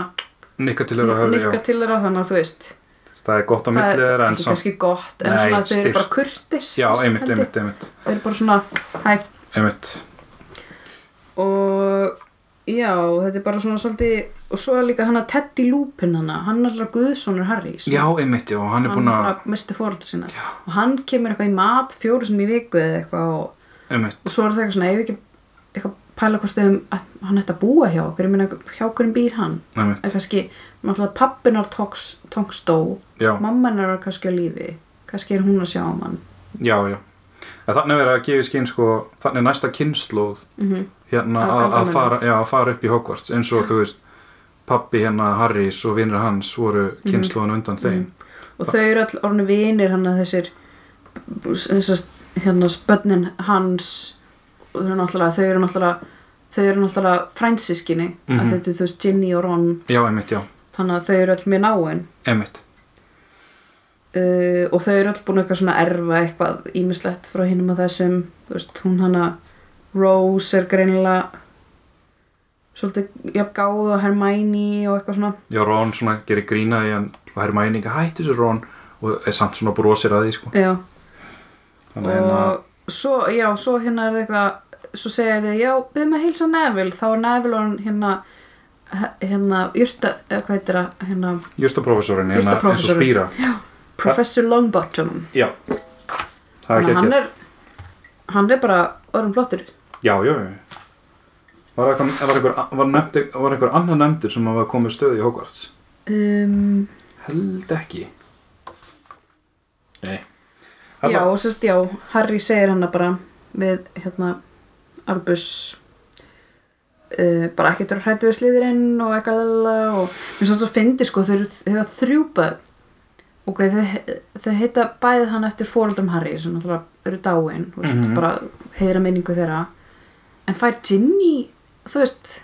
[SPEAKER 2] nikka til þeirra höfðu,
[SPEAKER 1] nikka til þeirra þannig að þú veist
[SPEAKER 2] já það er gott á
[SPEAKER 1] það
[SPEAKER 2] millið
[SPEAKER 1] er
[SPEAKER 2] þeirra en
[SPEAKER 1] ekki
[SPEAKER 2] samt
[SPEAKER 1] kannski gott en
[SPEAKER 2] Nei,
[SPEAKER 1] svona þau eru
[SPEAKER 2] styrkt.
[SPEAKER 1] bara kurtis
[SPEAKER 2] já, einmitt,
[SPEAKER 1] held ég.
[SPEAKER 2] einmitt, einmitt,
[SPEAKER 1] Þau eru bara svona hæ
[SPEAKER 2] einmitt
[SPEAKER 1] og já, þetta er bara svona svolítið og svo er líka hann að Teddy Lupin hana hann er alltaf guðsónur Harrys
[SPEAKER 2] já, einmitt, já, hann er
[SPEAKER 1] hann
[SPEAKER 2] búinn
[SPEAKER 1] er
[SPEAKER 2] að
[SPEAKER 1] alltaf misti fóröldra sína já. og hann kemur eitthvað í mat fjóru sem í viku eða eitthvað og
[SPEAKER 2] einmitt,
[SPEAKER 1] og svo er það eitthvað svona, ef ekki eitthvað pæla hvort þeim að hann ætti að búa hjá okkur, ég meina hjá okkur býr hann
[SPEAKER 2] einmitt,
[SPEAKER 1] en kannski, náttúrulega pappinar tongstó,
[SPEAKER 2] já,
[SPEAKER 1] mammanar var kannski á lífi, kannski er hún að sjá um hann
[SPEAKER 2] já, já en þannig er verið að gefa í skinn sko þannig er næsta kynnslóð
[SPEAKER 1] mm -hmm.
[SPEAKER 2] hérna
[SPEAKER 1] Að-
[SPEAKER 2] að- að
[SPEAKER 1] aldamönnum.
[SPEAKER 2] fara, já, að fara upp í Hogwarts eins og þú veist pappi hérna Harrys og vinnir hans voru
[SPEAKER 1] Mhm.
[SPEAKER 2] kynnslóðan undan þeim
[SPEAKER 1] og þau eru all orðinu vinir hann að þessir þessast, hérna spönnin hans og þau eru náttúrulega, þau eru náttúrulega þau eru náttúrulega frænsískinni að
[SPEAKER 2] Mhm.
[SPEAKER 1] þetta er þú veist Ginny og Ron
[SPEAKER 2] já, einmitt, já,
[SPEAKER 1] þannig að þau eru all mér náin
[SPEAKER 2] einmitt
[SPEAKER 1] uh, og þau eru öll búin eitthvað svona að erfa eitthvað ímislegt frá hinum að þessum þú veist, hún hana Rose er greinilega svolítið jafn gáð og Hermione og eitthvað svona
[SPEAKER 2] já, Ron svona gerir grína í hann og herr mæninga, hættu þessu Ron og er samt svona brosir að því sko
[SPEAKER 1] já,
[SPEAKER 2] þannig að hérna,
[SPEAKER 1] og svo, já, svo hérna er það eitthvað svo segja við, já, byrðum að heilsa Neville þá er Neville hann hérna he- hérna, jurta, eða hvað heitir það hérna,
[SPEAKER 2] jurtaprófessorinn hérna eins og
[SPEAKER 1] Jurtaprófessorinn.
[SPEAKER 2] spýra
[SPEAKER 1] Professor Longbottom
[SPEAKER 2] já, það er
[SPEAKER 1] þannig að
[SPEAKER 2] ekki
[SPEAKER 1] hann
[SPEAKER 2] ekki
[SPEAKER 1] er hann er bara orðum flottur
[SPEAKER 2] já, já, já var eitthvað, var einhver, var nefndi, var einhver annar nefndur sem hafa komið stöð í Hogwarts
[SPEAKER 1] um,
[SPEAKER 2] held ekki nei
[SPEAKER 1] Já, og sérst, já, Harry segir hana bara við, hérna, Albus uh, bara ekkert að hrættu við slíðurinn og eitthvað lala, og mér svolítið svo fyndi, sko, þau eru þau hafa þrjú börn ok, þau, þau heita bæði hann eftir fóreldrum Harry sem náttúrulega eru dáin, þú veist,
[SPEAKER 2] Mhm.
[SPEAKER 1] bara heyra minningu þeirra en fær Ginny, þú veist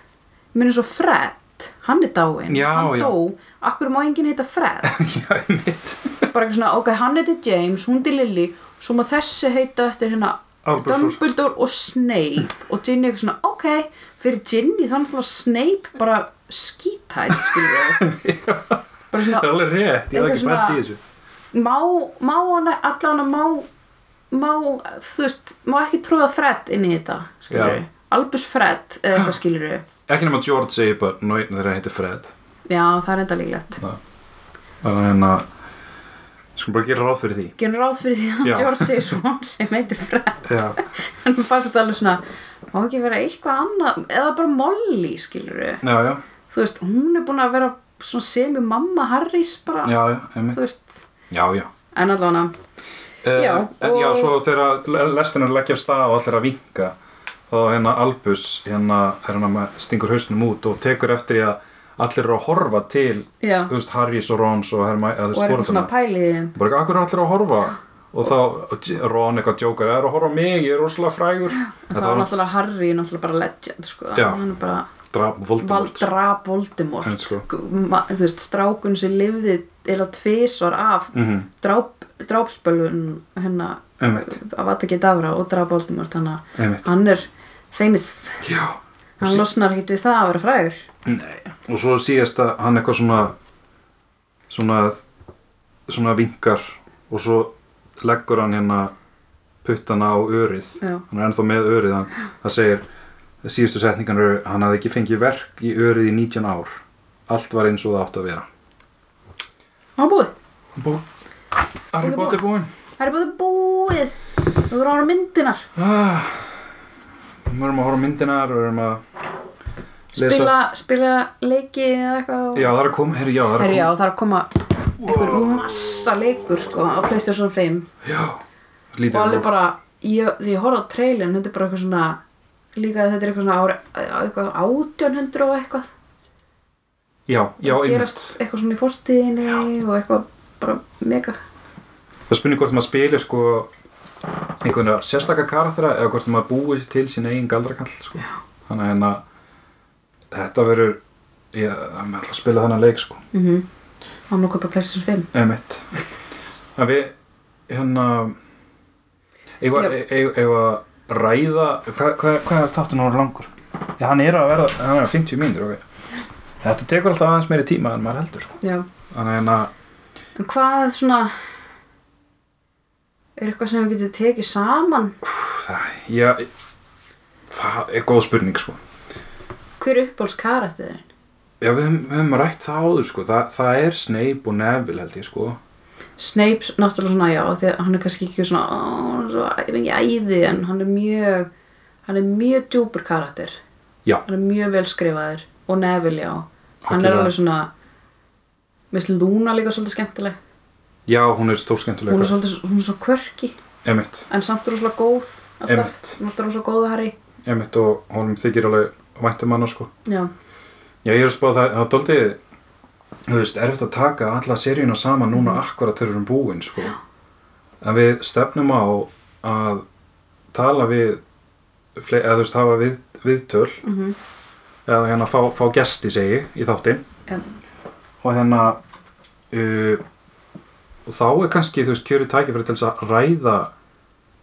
[SPEAKER 1] mér er svo Fred, hann er dáin
[SPEAKER 2] Já,
[SPEAKER 1] hann
[SPEAKER 2] já.
[SPEAKER 1] dó, akkur má enginn heita Fred
[SPEAKER 2] já, einmitt
[SPEAKER 1] bara eitthvað svona, ok, hann heiti James, hún til Lily svo maður þessi heita eftir hérna
[SPEAKER 2] Albus og-
[SPEAKER 1] Dumbledore og Snape og Ginny eitthvað svona, ok, fyrir Ginny þannig að Snape bara skítætt, skilur við bara
[SPEAKER 2] Það er
[SPEAKER 1] svona,
[SPEAKER 2] alveg rétt, ég hef
[SPEAKER 1] Eitthvað
[SPEAKER 2] ekki bært í
[SPEAKER 1] svona-
[SPEAKER 2] þessu
[SPEAKER 1] má, má hana allan að má, má þú veist, má ekki tróða Fred inn í þetta, skilur
[SPEAKER 2] Já.
[SPEAKER 1] við Albus Fred, eða eitthvað skilur við
[SPEAKER 2] Ekki nema George segir bara, nú einn þeirra heitir Fred
[SPEAKER 1] já, það er enda líklegt
[SPEAKER 2] Þannig að hérna Skulum bara gera ráð fyrir því
[SPEAKER 1] genur ráð fyrir því að
[SPEAKER 2] Já.
[SPEAKER 1] George segir svo sem heiti Fred
[SPEAKER 2] Já,
[SPEAKER 1] en mér fannst þetta alveg svona má ekki vera eitthvað annað eða bara Molly skilur
[SPEAKER 2] já, já,
[SPEAKER 1] þú veist, hún er búin að vera svona semi mamma Harrys bara
[SPEAKER 2] já, já, einmitt
[SPEAKER 1] þú veist,
[SPEAKER 2] Já, já
[SPEAKER 1] en allavega
[SPEAKER 2] Eh,
[SPEAKER 1] Já,
[SPEAKER 2] En já,
[SPEAKER 1] og-
[SPEAKER 2] svo þegar le- lestin er að leggja af stað og allir að vinka þá hérna Albus hérna, er hérna með stingur hausnum út og tekur eftir í að allir eru að horfa til
[SPEAKER 1] já,
[SPEAKER 2] þú veist, Harrys og Rons og Hermæ eða þú
[SPEAKER 1] og
[SPEAKER 2] veist,
[SPEAKER 1] er eitthvað svona
[SPEAKER 2] fórhaldana
[SPEAKER 1] pæliði
[SPEAKER 2] bara eitthvað, akkur er allir að horfa og þá, og J- Ron eitthvað jókar er að horfa á mig, ég er úrslega frægur
[SPEAKER 1] en það var náttúrulega Harry, náttúrulega bara legend sko,
[SPEAKER 2] Já.
[SPEAKER 1] hann er bara
[SPEAKER 2] draf Voldemort sko.
[SPEAKER 1] valdrap Voldemort
[SPEAKER 2] En sko.
[SPEAKER 1] Gu- ma- þú veist, strákun sem lifði eða tvisvar af
[SPEAKER 2] Mhm.
[SPEAKER 1] dráp, drápspölun hérna,
[SPEAKER 2] Einmitt.
[SPEAKER 1] af að ekki dafra og drap Voldemort, þannig að
[SPEAKER 2] Einmitt.
[SPEAKER 1] hann er famous
[SPEAKER 2] Já.
[SPEAKER 1] Hann losnar ekkert við það að vera frægur.
[SPEAKER 2] Nei. Og svo síðast að hann eitthvað svona svona svona vinkar og svo leggur hann hérna puttana á örið
[SPEAKER 1] Já.
[SPEAKER 2] hann er ennþá með örið hann, það segir síðustu setningan eru hann hafði ekki fengið verk í örið í 19 ár allt var eins og það átti að vera
[SPEAKER 1] Hann var búið.
[SPEAKER 2] Bú. Harry
[SPEAKER 1] Búið,
[SPEAKER 2] Potter búinn
[SPEAKER 1] Það er búið búið. Þú voru ára myndinar.
[SPEAKER 2] ah. við erum að horfa á myndinar við erum að lesa
[SPEAKER 1] Spila, spila leiki eða eitthvað.
[SPEAKER 2] já það er að koma, herri, já, það er að
[SPEAKER 1] Herri,
[SPEAKER 2] koma
[SPEAKER 1] já, það er að koma einhver massa leikur sko á Playstation 5
[SPEAKER 2] Já,
[SPEAKER 1] og
[SPEAKER 2] lítið
[SPEAKER 1] alveg bara, ég, því ég horfði á trailin þetta er bara eitthvað svona líka þetta er eitthvað svona ári, eitthvað 1800 og eitthvað
[SPEAKER 2] Já, já,
[SPEAKER 1] Það
[SPEAKER 2] einmitt
[SPEAKER 1] gerast eitthvað svona í fórstíðinni og eitthvað bara mega
[SPEAKER 2] Það spynir hvort maður spili sko einhverja sérstakka karaktera eða hvort maður búið til sín eigin galdrakall sko. þannig að hérna, þetta verður ég ætla að spila þennan leik sko
[SPEAKER 1] mm -hmm. á nú köpa Playstation 5
[SPEAKER 2] Emitt Það við hérna eigum
[SPEAKER 1] Já.
[SPEAKER 2] að- eigum- eigum að ræða hvað, hvað, hvað er þáttun ára langur? Já, hann er að verða, hann er að 50 mínútur okay. Þetta tekur alltaf aðeins meiri tíma en maður heldur sko.
[SPEAKER 1] já
[SPEAKER 2] Þannig að hérna,
[SPEAKER 1] En hvað svona er eitthvað sem við getum tekið saman?
[SPEAKER 2] pff, það, ég, það er góð spurning sko
[SPEAKER 1] Hver er uppáhalds karakterinn?
[SPEAKER 2] Já, við höfum, við höfum rætt það áður, sko. Þa, það er Snape og Neville, held ég, sko.
[SPEAKER 1] Snape s- náttúrulega svona já af því að hann er kannski ekki svona ó, hann er svo, ég veit ekki æði en hann er mjög hann er mjög djúpur karakter
[SPEAKER 2] Já.
[SPEAKER 1] hann er mjög vel skrifaður og Neville já hann er
[SPEAKER 2] Algjörlega.
[SPEAKER 1] alveg svona mér finnst Luna líka svolítið skemmtileg
[SPEAKER 2] Já, hún er stórskemmtilega.
[SPEAKER 1] hún er svolítið hún er svo kvörki
[SPEAKER 2] Emitt,
[SPEAKER 1] en samt rosalega góð
[SPEAKER 2] Einmitt.
[SPEAKER 1] alltaf, hún er alltaf rosalega góð að Harry
[SPEAKER 2] emitt og honum þykir alveg væntum hana, sko.
[SPEAKER 1] já,
[SPEAKER 2] Já, ég er að spá að það, það doldi, þú veist, erfitt að taka alla seríuna saman núna
[SPEAKER 1] Mm.
[SPEAKER 2] akkurat þegar við erum búin, sko. En við stefnum á að tala við, fle- eða þú veist, hafa við, viðtöl,
[SPEAKER 1] mm -hmm.
[SPEAKER 2] eða hérna fá, fá gesti, segi, ég, í þáttinn.
[SPEAKER 1] já.
[SPEAKER 2] og hérna uh, og þá er kannski þú veist kjöri tækifæri til þess að ræða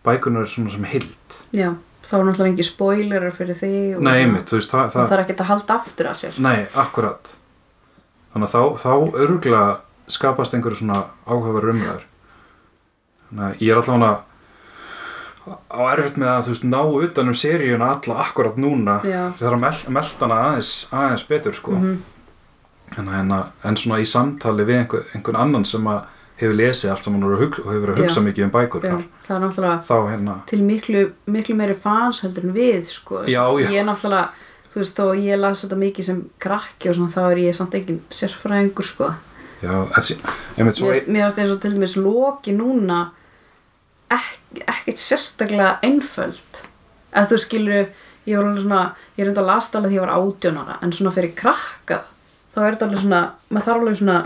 [SPEAKER 2] bækunar svona sem hild
[SPEAKER 1] já þá er náttúrulega engin spoilerar fyrir þig og
[SPEAKER 2] nei
[SPEAKER 1] svona.
[SPEAKER 2] einmitt, þú veist það,
[SPEAKER 1] það
[SPEAKER 2] það,
[SPEAKER 1] þarf ekki að halda aftur af sér
[SPEAKER 2] nei, akkurat þannig að þá, þá örgla skapast einhverju svona áhugaverður umræður þannig að ég er allan að á erfitt með að þú veist ná utan um seríuna alla akkurat núna
[SPEAKER 1] já,
[SPEAKER 2] það er að mel melta hana aðeins, aðeins betur sko.
[SPEAKER 1] mm
[SPEAKER 2] en, en, en svona í samtali við einhver, einhvern annan sem að hefur lesið allt sem hann og hug- og hefur verið að hugsa mikið um bækur
[SPEAKER 1] já það er náttúrulega
[SPEAKER 2] þá hérna
[SPEAKER 1] til miklu, miklu meiri fans heldur en við sko.
[SPEAKER 2] Já, já.
[SPEAKER 1] ég er náttúrulega þú veist þó ég las þetta mikið sem krakki og svona þá er ég samt engin sérfræðingur sko.
[SPEAKER 2] já, þessi, einmitt svo
[SPEAKER 1] mér finnst- mér finnst eins og til dæmis loki núna ek, ekkert sérstaklega einföld að þú skilur ég var alveg svona, ég er enda að lasta alveg því ég var átjónara en svona fyrir krakka þá er þetta alveg svona, maður þarf alveg svona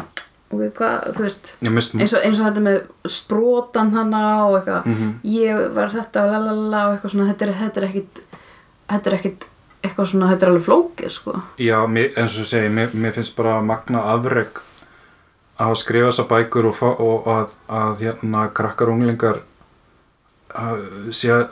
[SPEAKER 1] ok, hvað, þú veist
[SPEAKER 2] ég mist
[SPEAKER 1] eins og, eins og þetta með sprótan hana og eitthvað,
[SPEAKER 2] Mhm.
[SPEAKER 1] ég var þetta og lalala og eitthvað svona, þetta er, þetta er ekkit þetta er ekkit eitthvað svona, þetta er alveg flókið sko
[SPEAKER 2] já, mér, eins og ég segi, mér, mér finnst bara magna afreg að hafa skrifað þessar bækur og, fá, og að, að hérna krakkar og unglingar að, sé að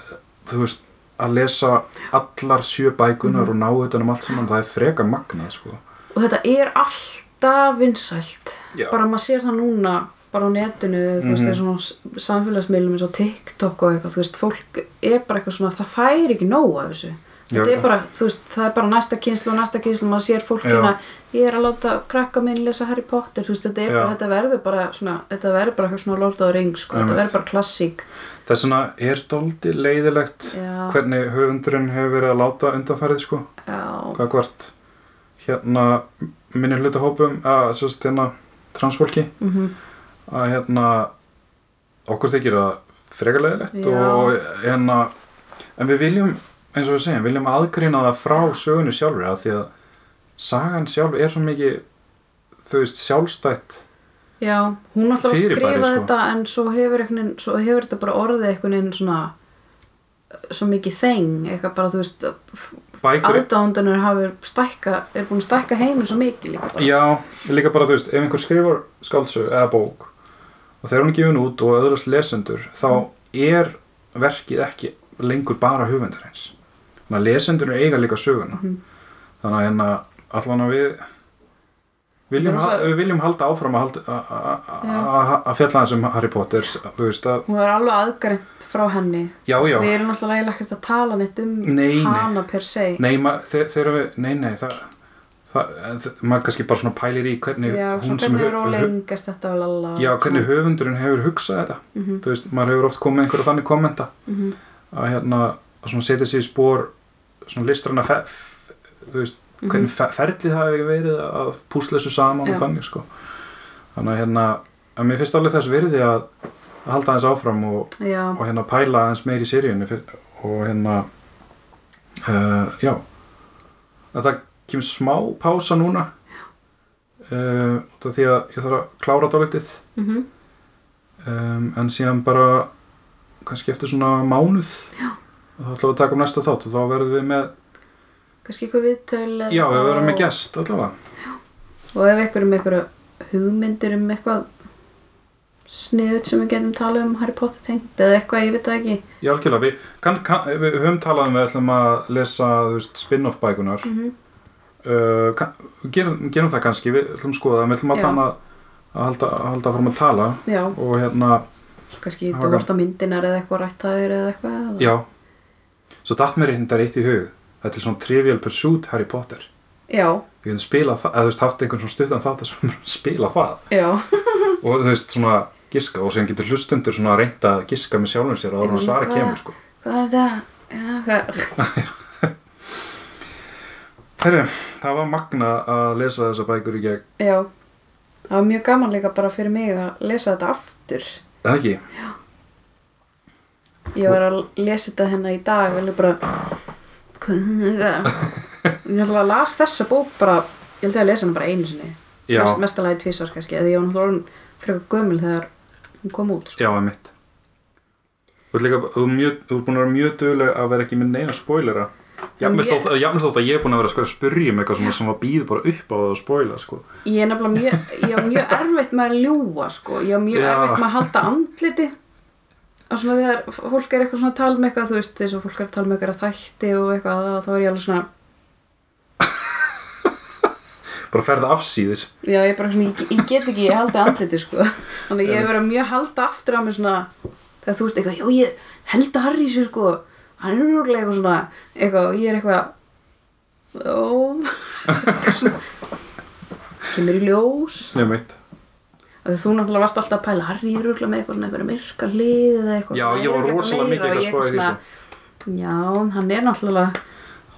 [SPEAKER 2] þú veist að lesa allar sjö bækunar og ná utan um allt saman, það er frekar magnað sko.
[SPEAKER 1] og þetta er alltaf vinsælt
[SPEAKER 2] Já.
[SPEAKER 1] bara maður sér það núna bara á netinu, þú veist,
[SPEAKER 2] Mhm.
[SPEAKER 1] það er svona s- samfélagsmiðlum eins og TikTok og eitthvað þú veist, fólk er bara eitthvað svona það fær ekki nóg af þessu
[SPEAKER 2] Já,
[SPEAKER 1] þetta
[SPEAKER 2] já.
[SPEAKER 1] er bara, þú veist, það er bara næsta kynslu og næsta kynslu, maður sér fólkina ég er að láta krakka minn lesa Harry Potter þú veist, þetta, er
[SPEAKER 2] Já.
[SPEAKER 1] bara, þetta verður bara svona, þetta verður bara eitthvað svona Lord of the Rings sko, þetta
[SPEAKER 2] Einmitt.
[SPEAKER 1] verður bara klassík
[SPEAKER 2] þess vegna er dóldi leiðilegt
[SPEAKER 1] já,
[SPEAKER 2] hvernig höfundurinn hefur verið að láta undanfærið sko,
[SPEAKER 1] já,
[SPEAKER 2] hvað hvert hérna minni hluta hópum að sérst hérna transfólki
[SPEAKER 1] mm
[SPEAKER 2] að hérna okkur þykir það frekar leiðilegt
[SPEAKER 1] Já.
[SPEAKER 2] og hérna en við viljum, eins og við segjum, viljum aðgrýna það frá sögunu sjálfur að því að sagan sjálf er svo mikið þú veist sjálfstætt
[SPEAKER 1] Já, hún alltaf að
[SPEAKER 2] Fyrirbæri,
[SPEAKER 1] skrifa
[SPEAKER 2] sko.
[SPEAKER 1] þetta en svo hefur, einhvern, veginn- svo hefur þetta bara orðið einhvern veginn svona svo mikið þeng, eitthvað bara þú veist
[SPEAKER 2] bækur
[SPEAKER 1] aðdándanur hafi stækka er búin að stækka heiminn svo mikið líka bara.
[SPEAKER 2] Já, líka bara þú veist, ef einhver skrifar skáldsög eða bók og þegar hún er gefin út og öðrast lesendur þá
[SPEAKER 1] Mm.
[SPEAKER 2] er verkið ekki lengur bara höfundur eins þannig að lesendur eiga líka söguna
[SPEAKER 1] Mhm.
[SPEAKER 2] þannig að hérna allan að við viljum,
[SPEAKER 1] Þetta er
[SPEAKER 2] ha-
[SPEAKER 1] rosa-
[SPEAKER 2] við viljum halda áfram að, halda, a, a, a, a, að fjalla þessum Harry Potter þú veist að,
[SPEAKER 1] Hún er alveg aðgænt frá henni
[SPEAKER 2] já já
[SPEAKER 1] Við erum alltaf eiginlega ekkert að tala neitt um
[SPEAKER 2] Nei, nei.
[SPEAKER 1] hana per se
[SPEAKER 2] nei, ma, þe þegar við, nei nei það, það, það, maður kannski bara svona pælir í hvernig
[SPEAKER 1] Já, svo
[SPEAKER 2] sem
[SPEAKER 1] hvernig er
[SPEAKER 2] hö- hö-
[SPEAKER 1] rólegin gert þetta og lalla
[SPEAKER 2] Já, hvernig höfundurinn hefur hugsað þetta
[SPEAKER 1] Mhm.
[SPEAKER 2] þú veist, maður hefur oft komið einhverja þannig kommenta
[SPEAKER 1] Mhm.
[SPEAKER 2] að hérna, að svona setja sig í spór svona listrana fer, f- þú veist, hvernig fer, ferlið hafi verið að púsla þessu saman
[SPEAKER 1] Mhm. Já.
[SPEAKER 2] og þannig, sko þannig að hérna, en mér finnst alveg þess virði að, að halda aðeins áfram og,
[SPEAKER 1] já,
[SPEAKER 2] og hérna pæla aðeins meir í seríunni fyr- og hérna uh, já að það kemur smá pása núna uh, út af því að ég þarf að klára dálítið
[SPEAKER 1] mhm
[SPEAKER 2] um, en síðan bara kannski eftir svona mánuð
[SPEAKER 1] Já.
[SPEAKER 2] og þá ætlum við að taka um næsta þátt og þá verðum við með
[SPEAKER 1] kannski eitthvað viðtöl eða-
[SPEAKER 2] já, við verðum með gest allavega
[SPEAKER 1] og ef ykkur er með eitthvað hugmyndir um eitthvað sniðut sem við getum talað um Harry Potter tengt eða eitthvað, ég veit það ekki
[SPEAKER 2] Já, algjörlega, við, kann, kann, við höfum talað um við ætlum að lesa þú veist, spin-off bækunar
[SPEAKER 1] mm -hmm.
[SPEAKER 2] uh, kann, við gerum, gerum það kannski, við ætlum að skoða það, við ætlum að
[SPEAKER 1] Já.
[SPEAKER 2] þannig að halda, að halda fram að tala
[SPEAKER 1] já,
[SPEAKER 2] og hérna,
[SPEAKER 1] svo kannski
[SPEAKER 2] Það
[SPEAKER 1] þú
[SPEAKER 2] var
[SPEAKER 1] vart á myndinar eða eitthvað rættaðir eða eitthvað eða-
[SPEAKER 2] já svo datt mér hindar eitt í hug þetta er svona Trivial Pursuit Harry Potter
[SPEAKER 1] já,
[SPEAKER 2] við getum spilað það, eða þú veist, haft einhvern svona stuttan þátt þar sem spila það
[SPEAKER 1] já,
[SPEAKER 2] og þú veist, svona giska og sem getur hlustundur svona að reynda að giska með sjálfum sér áður en
[SPEAKER 1] Já,
[SPEAKER 2] svara
[SPEAKER 1] hvað-
[SPEAKER 2] kemur sko.
[SPEAKER 1] hvað er þetta? Já, hvað-
[SPEAKER 2] Herri, það var magna að lesa þessa bækur í gegn,
[SPEAKER 1] já, það var mjög gaman líka bara fyrir mig að lesa þetta aftur
[SPEAKER 2] eða ekki?
[SPEAKER 1] ég var að lesa þetta hérna í dag og ég bara hvað- ég náttúrulega las þessa bók bara, ég held ég að lesa hana bara einu sinni
[SPEAKER 2] Já,
[SPEAKER 1] Mest, mestalega í tvísar kannski eða ég var náttúrulega orðin frekar gömul þegar hún kom út sko.
[SPEAKER 2] já, er mitt. Þú ert líka, þú er, mjög, þú er búin að vera mjög döguleg að vera ekki með neina spoilera. Jafnvel
[SPEAKER 1] ég-
[SPEAKER 2] þótt, jafnvel þótt að ég er búin að vera sko, að spyrja um eitthvað svona sem að býð bara upp á það að spoila, sko.
[SPEAKER 1] ég er nefnilega mjög, ég var mjög erfitt með að ljúa sko. ég var mjög
[SPEAKER 2] Já.
[SPEAKER 1] erfitt með að halda andliti og svona þegar f- fólk er eitthvað svona að tala með eitthvað þú veist þess að fólk er að tala með eitthvað þætti og eitthvað og þá er ég alveg svona
[SPEAKER 2] Bara ferða afsýðis.
[SPEAKER 1] já ég er bara svona, ég, ég get ekki ég halda andliti sko. þannig að ég hef verið að mjög halda aftur á mig svona þegar þú veist eitthvað, já ég held að Harry sér sko hann er rúglega eitthvað svona eitthvað, og ég er eitthvað ó kemur í ljós
[SPEAKER 2] Nei, mitt.
[SPEAKER 1] að þú náttúrulega varst alltaf að pæla Harry er rúglega með eitthvað svona eitthvað myrka hlið eða eitthvað
[SPEAKER 2] Já,
[SPEAKER 1] svona,
[SPEAKER 2] ég var
[SPEAKER 1] er örugglega
[SPEAKER 2] rosalega
[SPEAKER 1] meira
[SPEAKER 2] mikið
[SPEAKER 1] og ég
[SPEAKER 2] eitthvað að spá í því, sko.
[SPEAKER 1] svona, já, hann er náttúrulega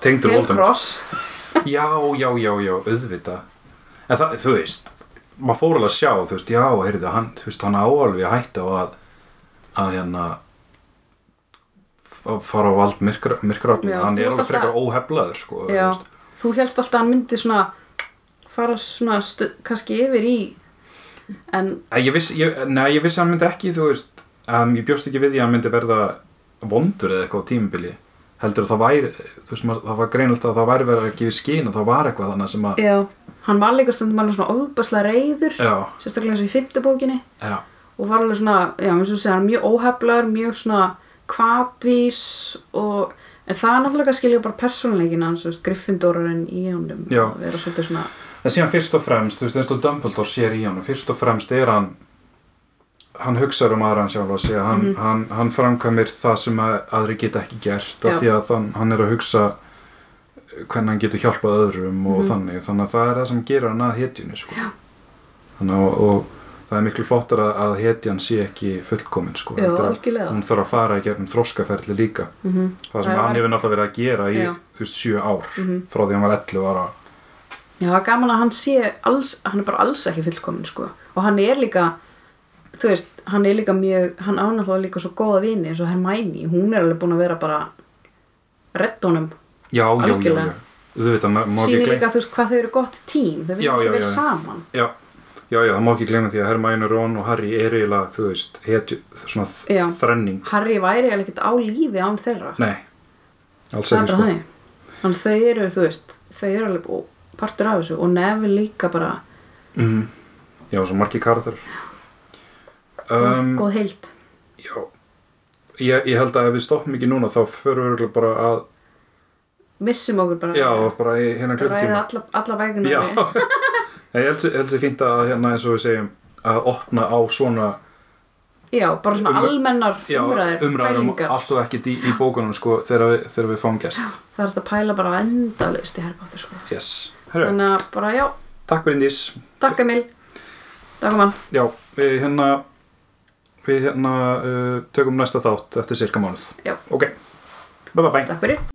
[SPEAKER 2] Tengdur
[SPEAKER 1] Phil
[SPEAKER 2] Voldemort.
[SPEAKER 1] Cross
[SPEAKER 2] Já, já, já, já, auðvitað. En það, þú veist, maður fór alveg að sjá, þú veist, já, heyrðu, hann, þú veist, hann áalvi að hætta og að, að hérna, að fara á vald myrkra, myrkrafni,
[SPEAKER 1] Já,
[SPEAKER 2] hann
[SPEAKER 1] þú
[SPEAKER 2] er
[SPEAKER 1] varst
[SPEAKER 2] alveg frekar
[SPEAKER 1] alltaf-
[SPEAKER 2] óheflaður, sko, þú
[SPEAKER 1] já,
[SPEAKER 2] veist.
[SPEAKER 1] þú helst alltaf að hann myndi svona fara svona stu, kannski yfir í en
[SPEAKER 2] Ég vissi, ég, nei, ég vissi að hann myndi ekki, þú veist, um, ég bjóst ekki við því að hann myndi verða vondur eða eitthvað á tímubili. Heldur að það væri, þú veist, maður, það var greinilegt að það væri verið að gefa skín og það var eitthvað þannig sem að,
[SPEAKER 1] já, hann var líka stundum alveg svona óbæslega reyður
[SPEAKER 2] já,
[SPEAKER 1] sérstaklega eins og í fymtabókinni
[SPEAKER 2] já,
[SPEAKER 1] og var alveg svona, já, eins og þú segir, hann er mjög óheflar, mjög svona kvatvís og en það er náttúrulega skilja bara persónuleikin hans, þú veist, Gryffindorarinn í honum
[SPEAKER 2] Já.
[SPEAKER 1] að vera svolítið svona,
[SPEAKER 2] En síðan fyrst og fremst, þú veist, eins og Dumbledore sér í honum, fyrst og fremst er hann, hann hugsaður um aðra hann sjálf að segja,
[SPEAKER 1] Mhm.
[SPEAKER 2] hann, hann, hann framkvæmir það sem að aðri geta ekki gert, af
[SPEAKER 1] Já.
[SPEAKER 2] því að hann, hann er að hugsa eh, hvernig hann getur hjálpað öðrum og
[SPEAKER 1] Mhm.
[SPEAKER 2] þannig, þannig að það er það sem gerir hann að hetjunni, sko. Já. Þannig að, og það er miklu flottar að, að hetjan sé ekki fullkomin, sko.
[SPEAKER 1] já,
[SPEAKER 2] heldur að
[SPEAKER 1] algjörlega
[SPEAKER 2] Hún þarf að fara í gegnum þroskaferli líka,
[SPEAKER 1] mm -hmm.
[SPEAKER 2] það sem
[SPEAKER 1] Það
[SPEAKER 2] hann
[SPEAKER 1] var-
[SPEAKER 2] hefur náttúrulega verið að gera í,
[SPEAKER 1] Já.
[SPEAKER 2] þú veist, sjö ár,
[SPEAKER 1] Mhm.
[SPEAKER 2] frá því hann var 11 ára.
[SPEAKER 1] Já, það er gaman að hann sé alls, hann er bara alls ekki fullkomin, sko. Og hann er líka, þú veist, hann er líka mjög, hann ánáttúrulega líka svo góða vini eins og Hermæni, hún er alveg búin að vera bara redd honum.
[SPEAKER 2] já, já, já,
[SPEAKER 1] Algjörlega.
[SPEAKER 2] já. þú veit að maður má ekki
[SPEAKER 1] Sýnir
[SPEAKER 2] gleyma
[SPEAKER 1] líka, þú veist, hvað þau eru gott tím, þau
[SPEAKER 2] Já,
[SPEAKER 1] viljum
[SPEAKER 2] já,
[SPEAKER 1] svo vera
[SPEAKER 2] já.
[SPEAKER 1] saman.
[SPEAKER 2] já, já, já, það má ekki gleyma því að Hermæn og Ron og Harry er eiginlega, þú veist, hetju, svona þ-
[SPEAKER 1] Já.
[SPEAKER 2] þrenning
[SPEAKER 1] Harry væri alveg ekkert á lífi án þeirra.
[SPEAKER 2] nei, alls
[SPEAKER 1] það er
[SPEAKER 2] ekki
[SPEAKER 1] bara
[SPEAKER 2] sko
[SPEAKER 1] þannig. Þannig þau eru, þú veist, þau eru alveg ó- partur af þessu og Neville líka bara
[SPEAKER 2] mm. já, svo margir karakter um,
[SPEAKER 1] góð heilt.
[SPEAKER 2] já ég, ég held að ef við stoppum ekki núna þá förum við örugglega bara að,
[SPEAKER 1] Missum okkur bara.
[SPEAKER 2] já, bara í hérna
[SPEAKER 1] Ræða
[SPEAKER 2] klukkutíma
[SPEAKER 1] alla, alla bækunar.
[SPEAKER 2] já, Nei, ég held ég held sér fínt að hérna eins og við segjum að opna á svona
[SPEAKER 1] Já, bara svona
[SPEAKER 2] Umræ-
[SPEAKER 1] almennar
[SPEAKER 2] já,
[SPEAKER 1] umræður,
[SPEAKER 2] umræður um
[SPEAKER 1] pælingar.
[SPEAKER 2] allt og ekkert í, í bókunum sko þegar við, þegar við fáum gest
[SPEAKER 1] Það er hægt að pæla bara endalist í Harry Potter sko.
[SPEAKER 2] yes, herru
[SPEAKER 1] Þannig að bara já,
[SPEAKER 2] Takk Bryndís.
[SPEAKER 1] takk Emil. Takk mann.
[SPEAKER 2] Já, við hérna, við hérna uh, tökum næsta þátt eftir cirka mánuð.
[SPEAKER 1] Já.
[SPEAKER 2] Ok, bye bye bye.
[SPEAKER 1] Takk fyrir.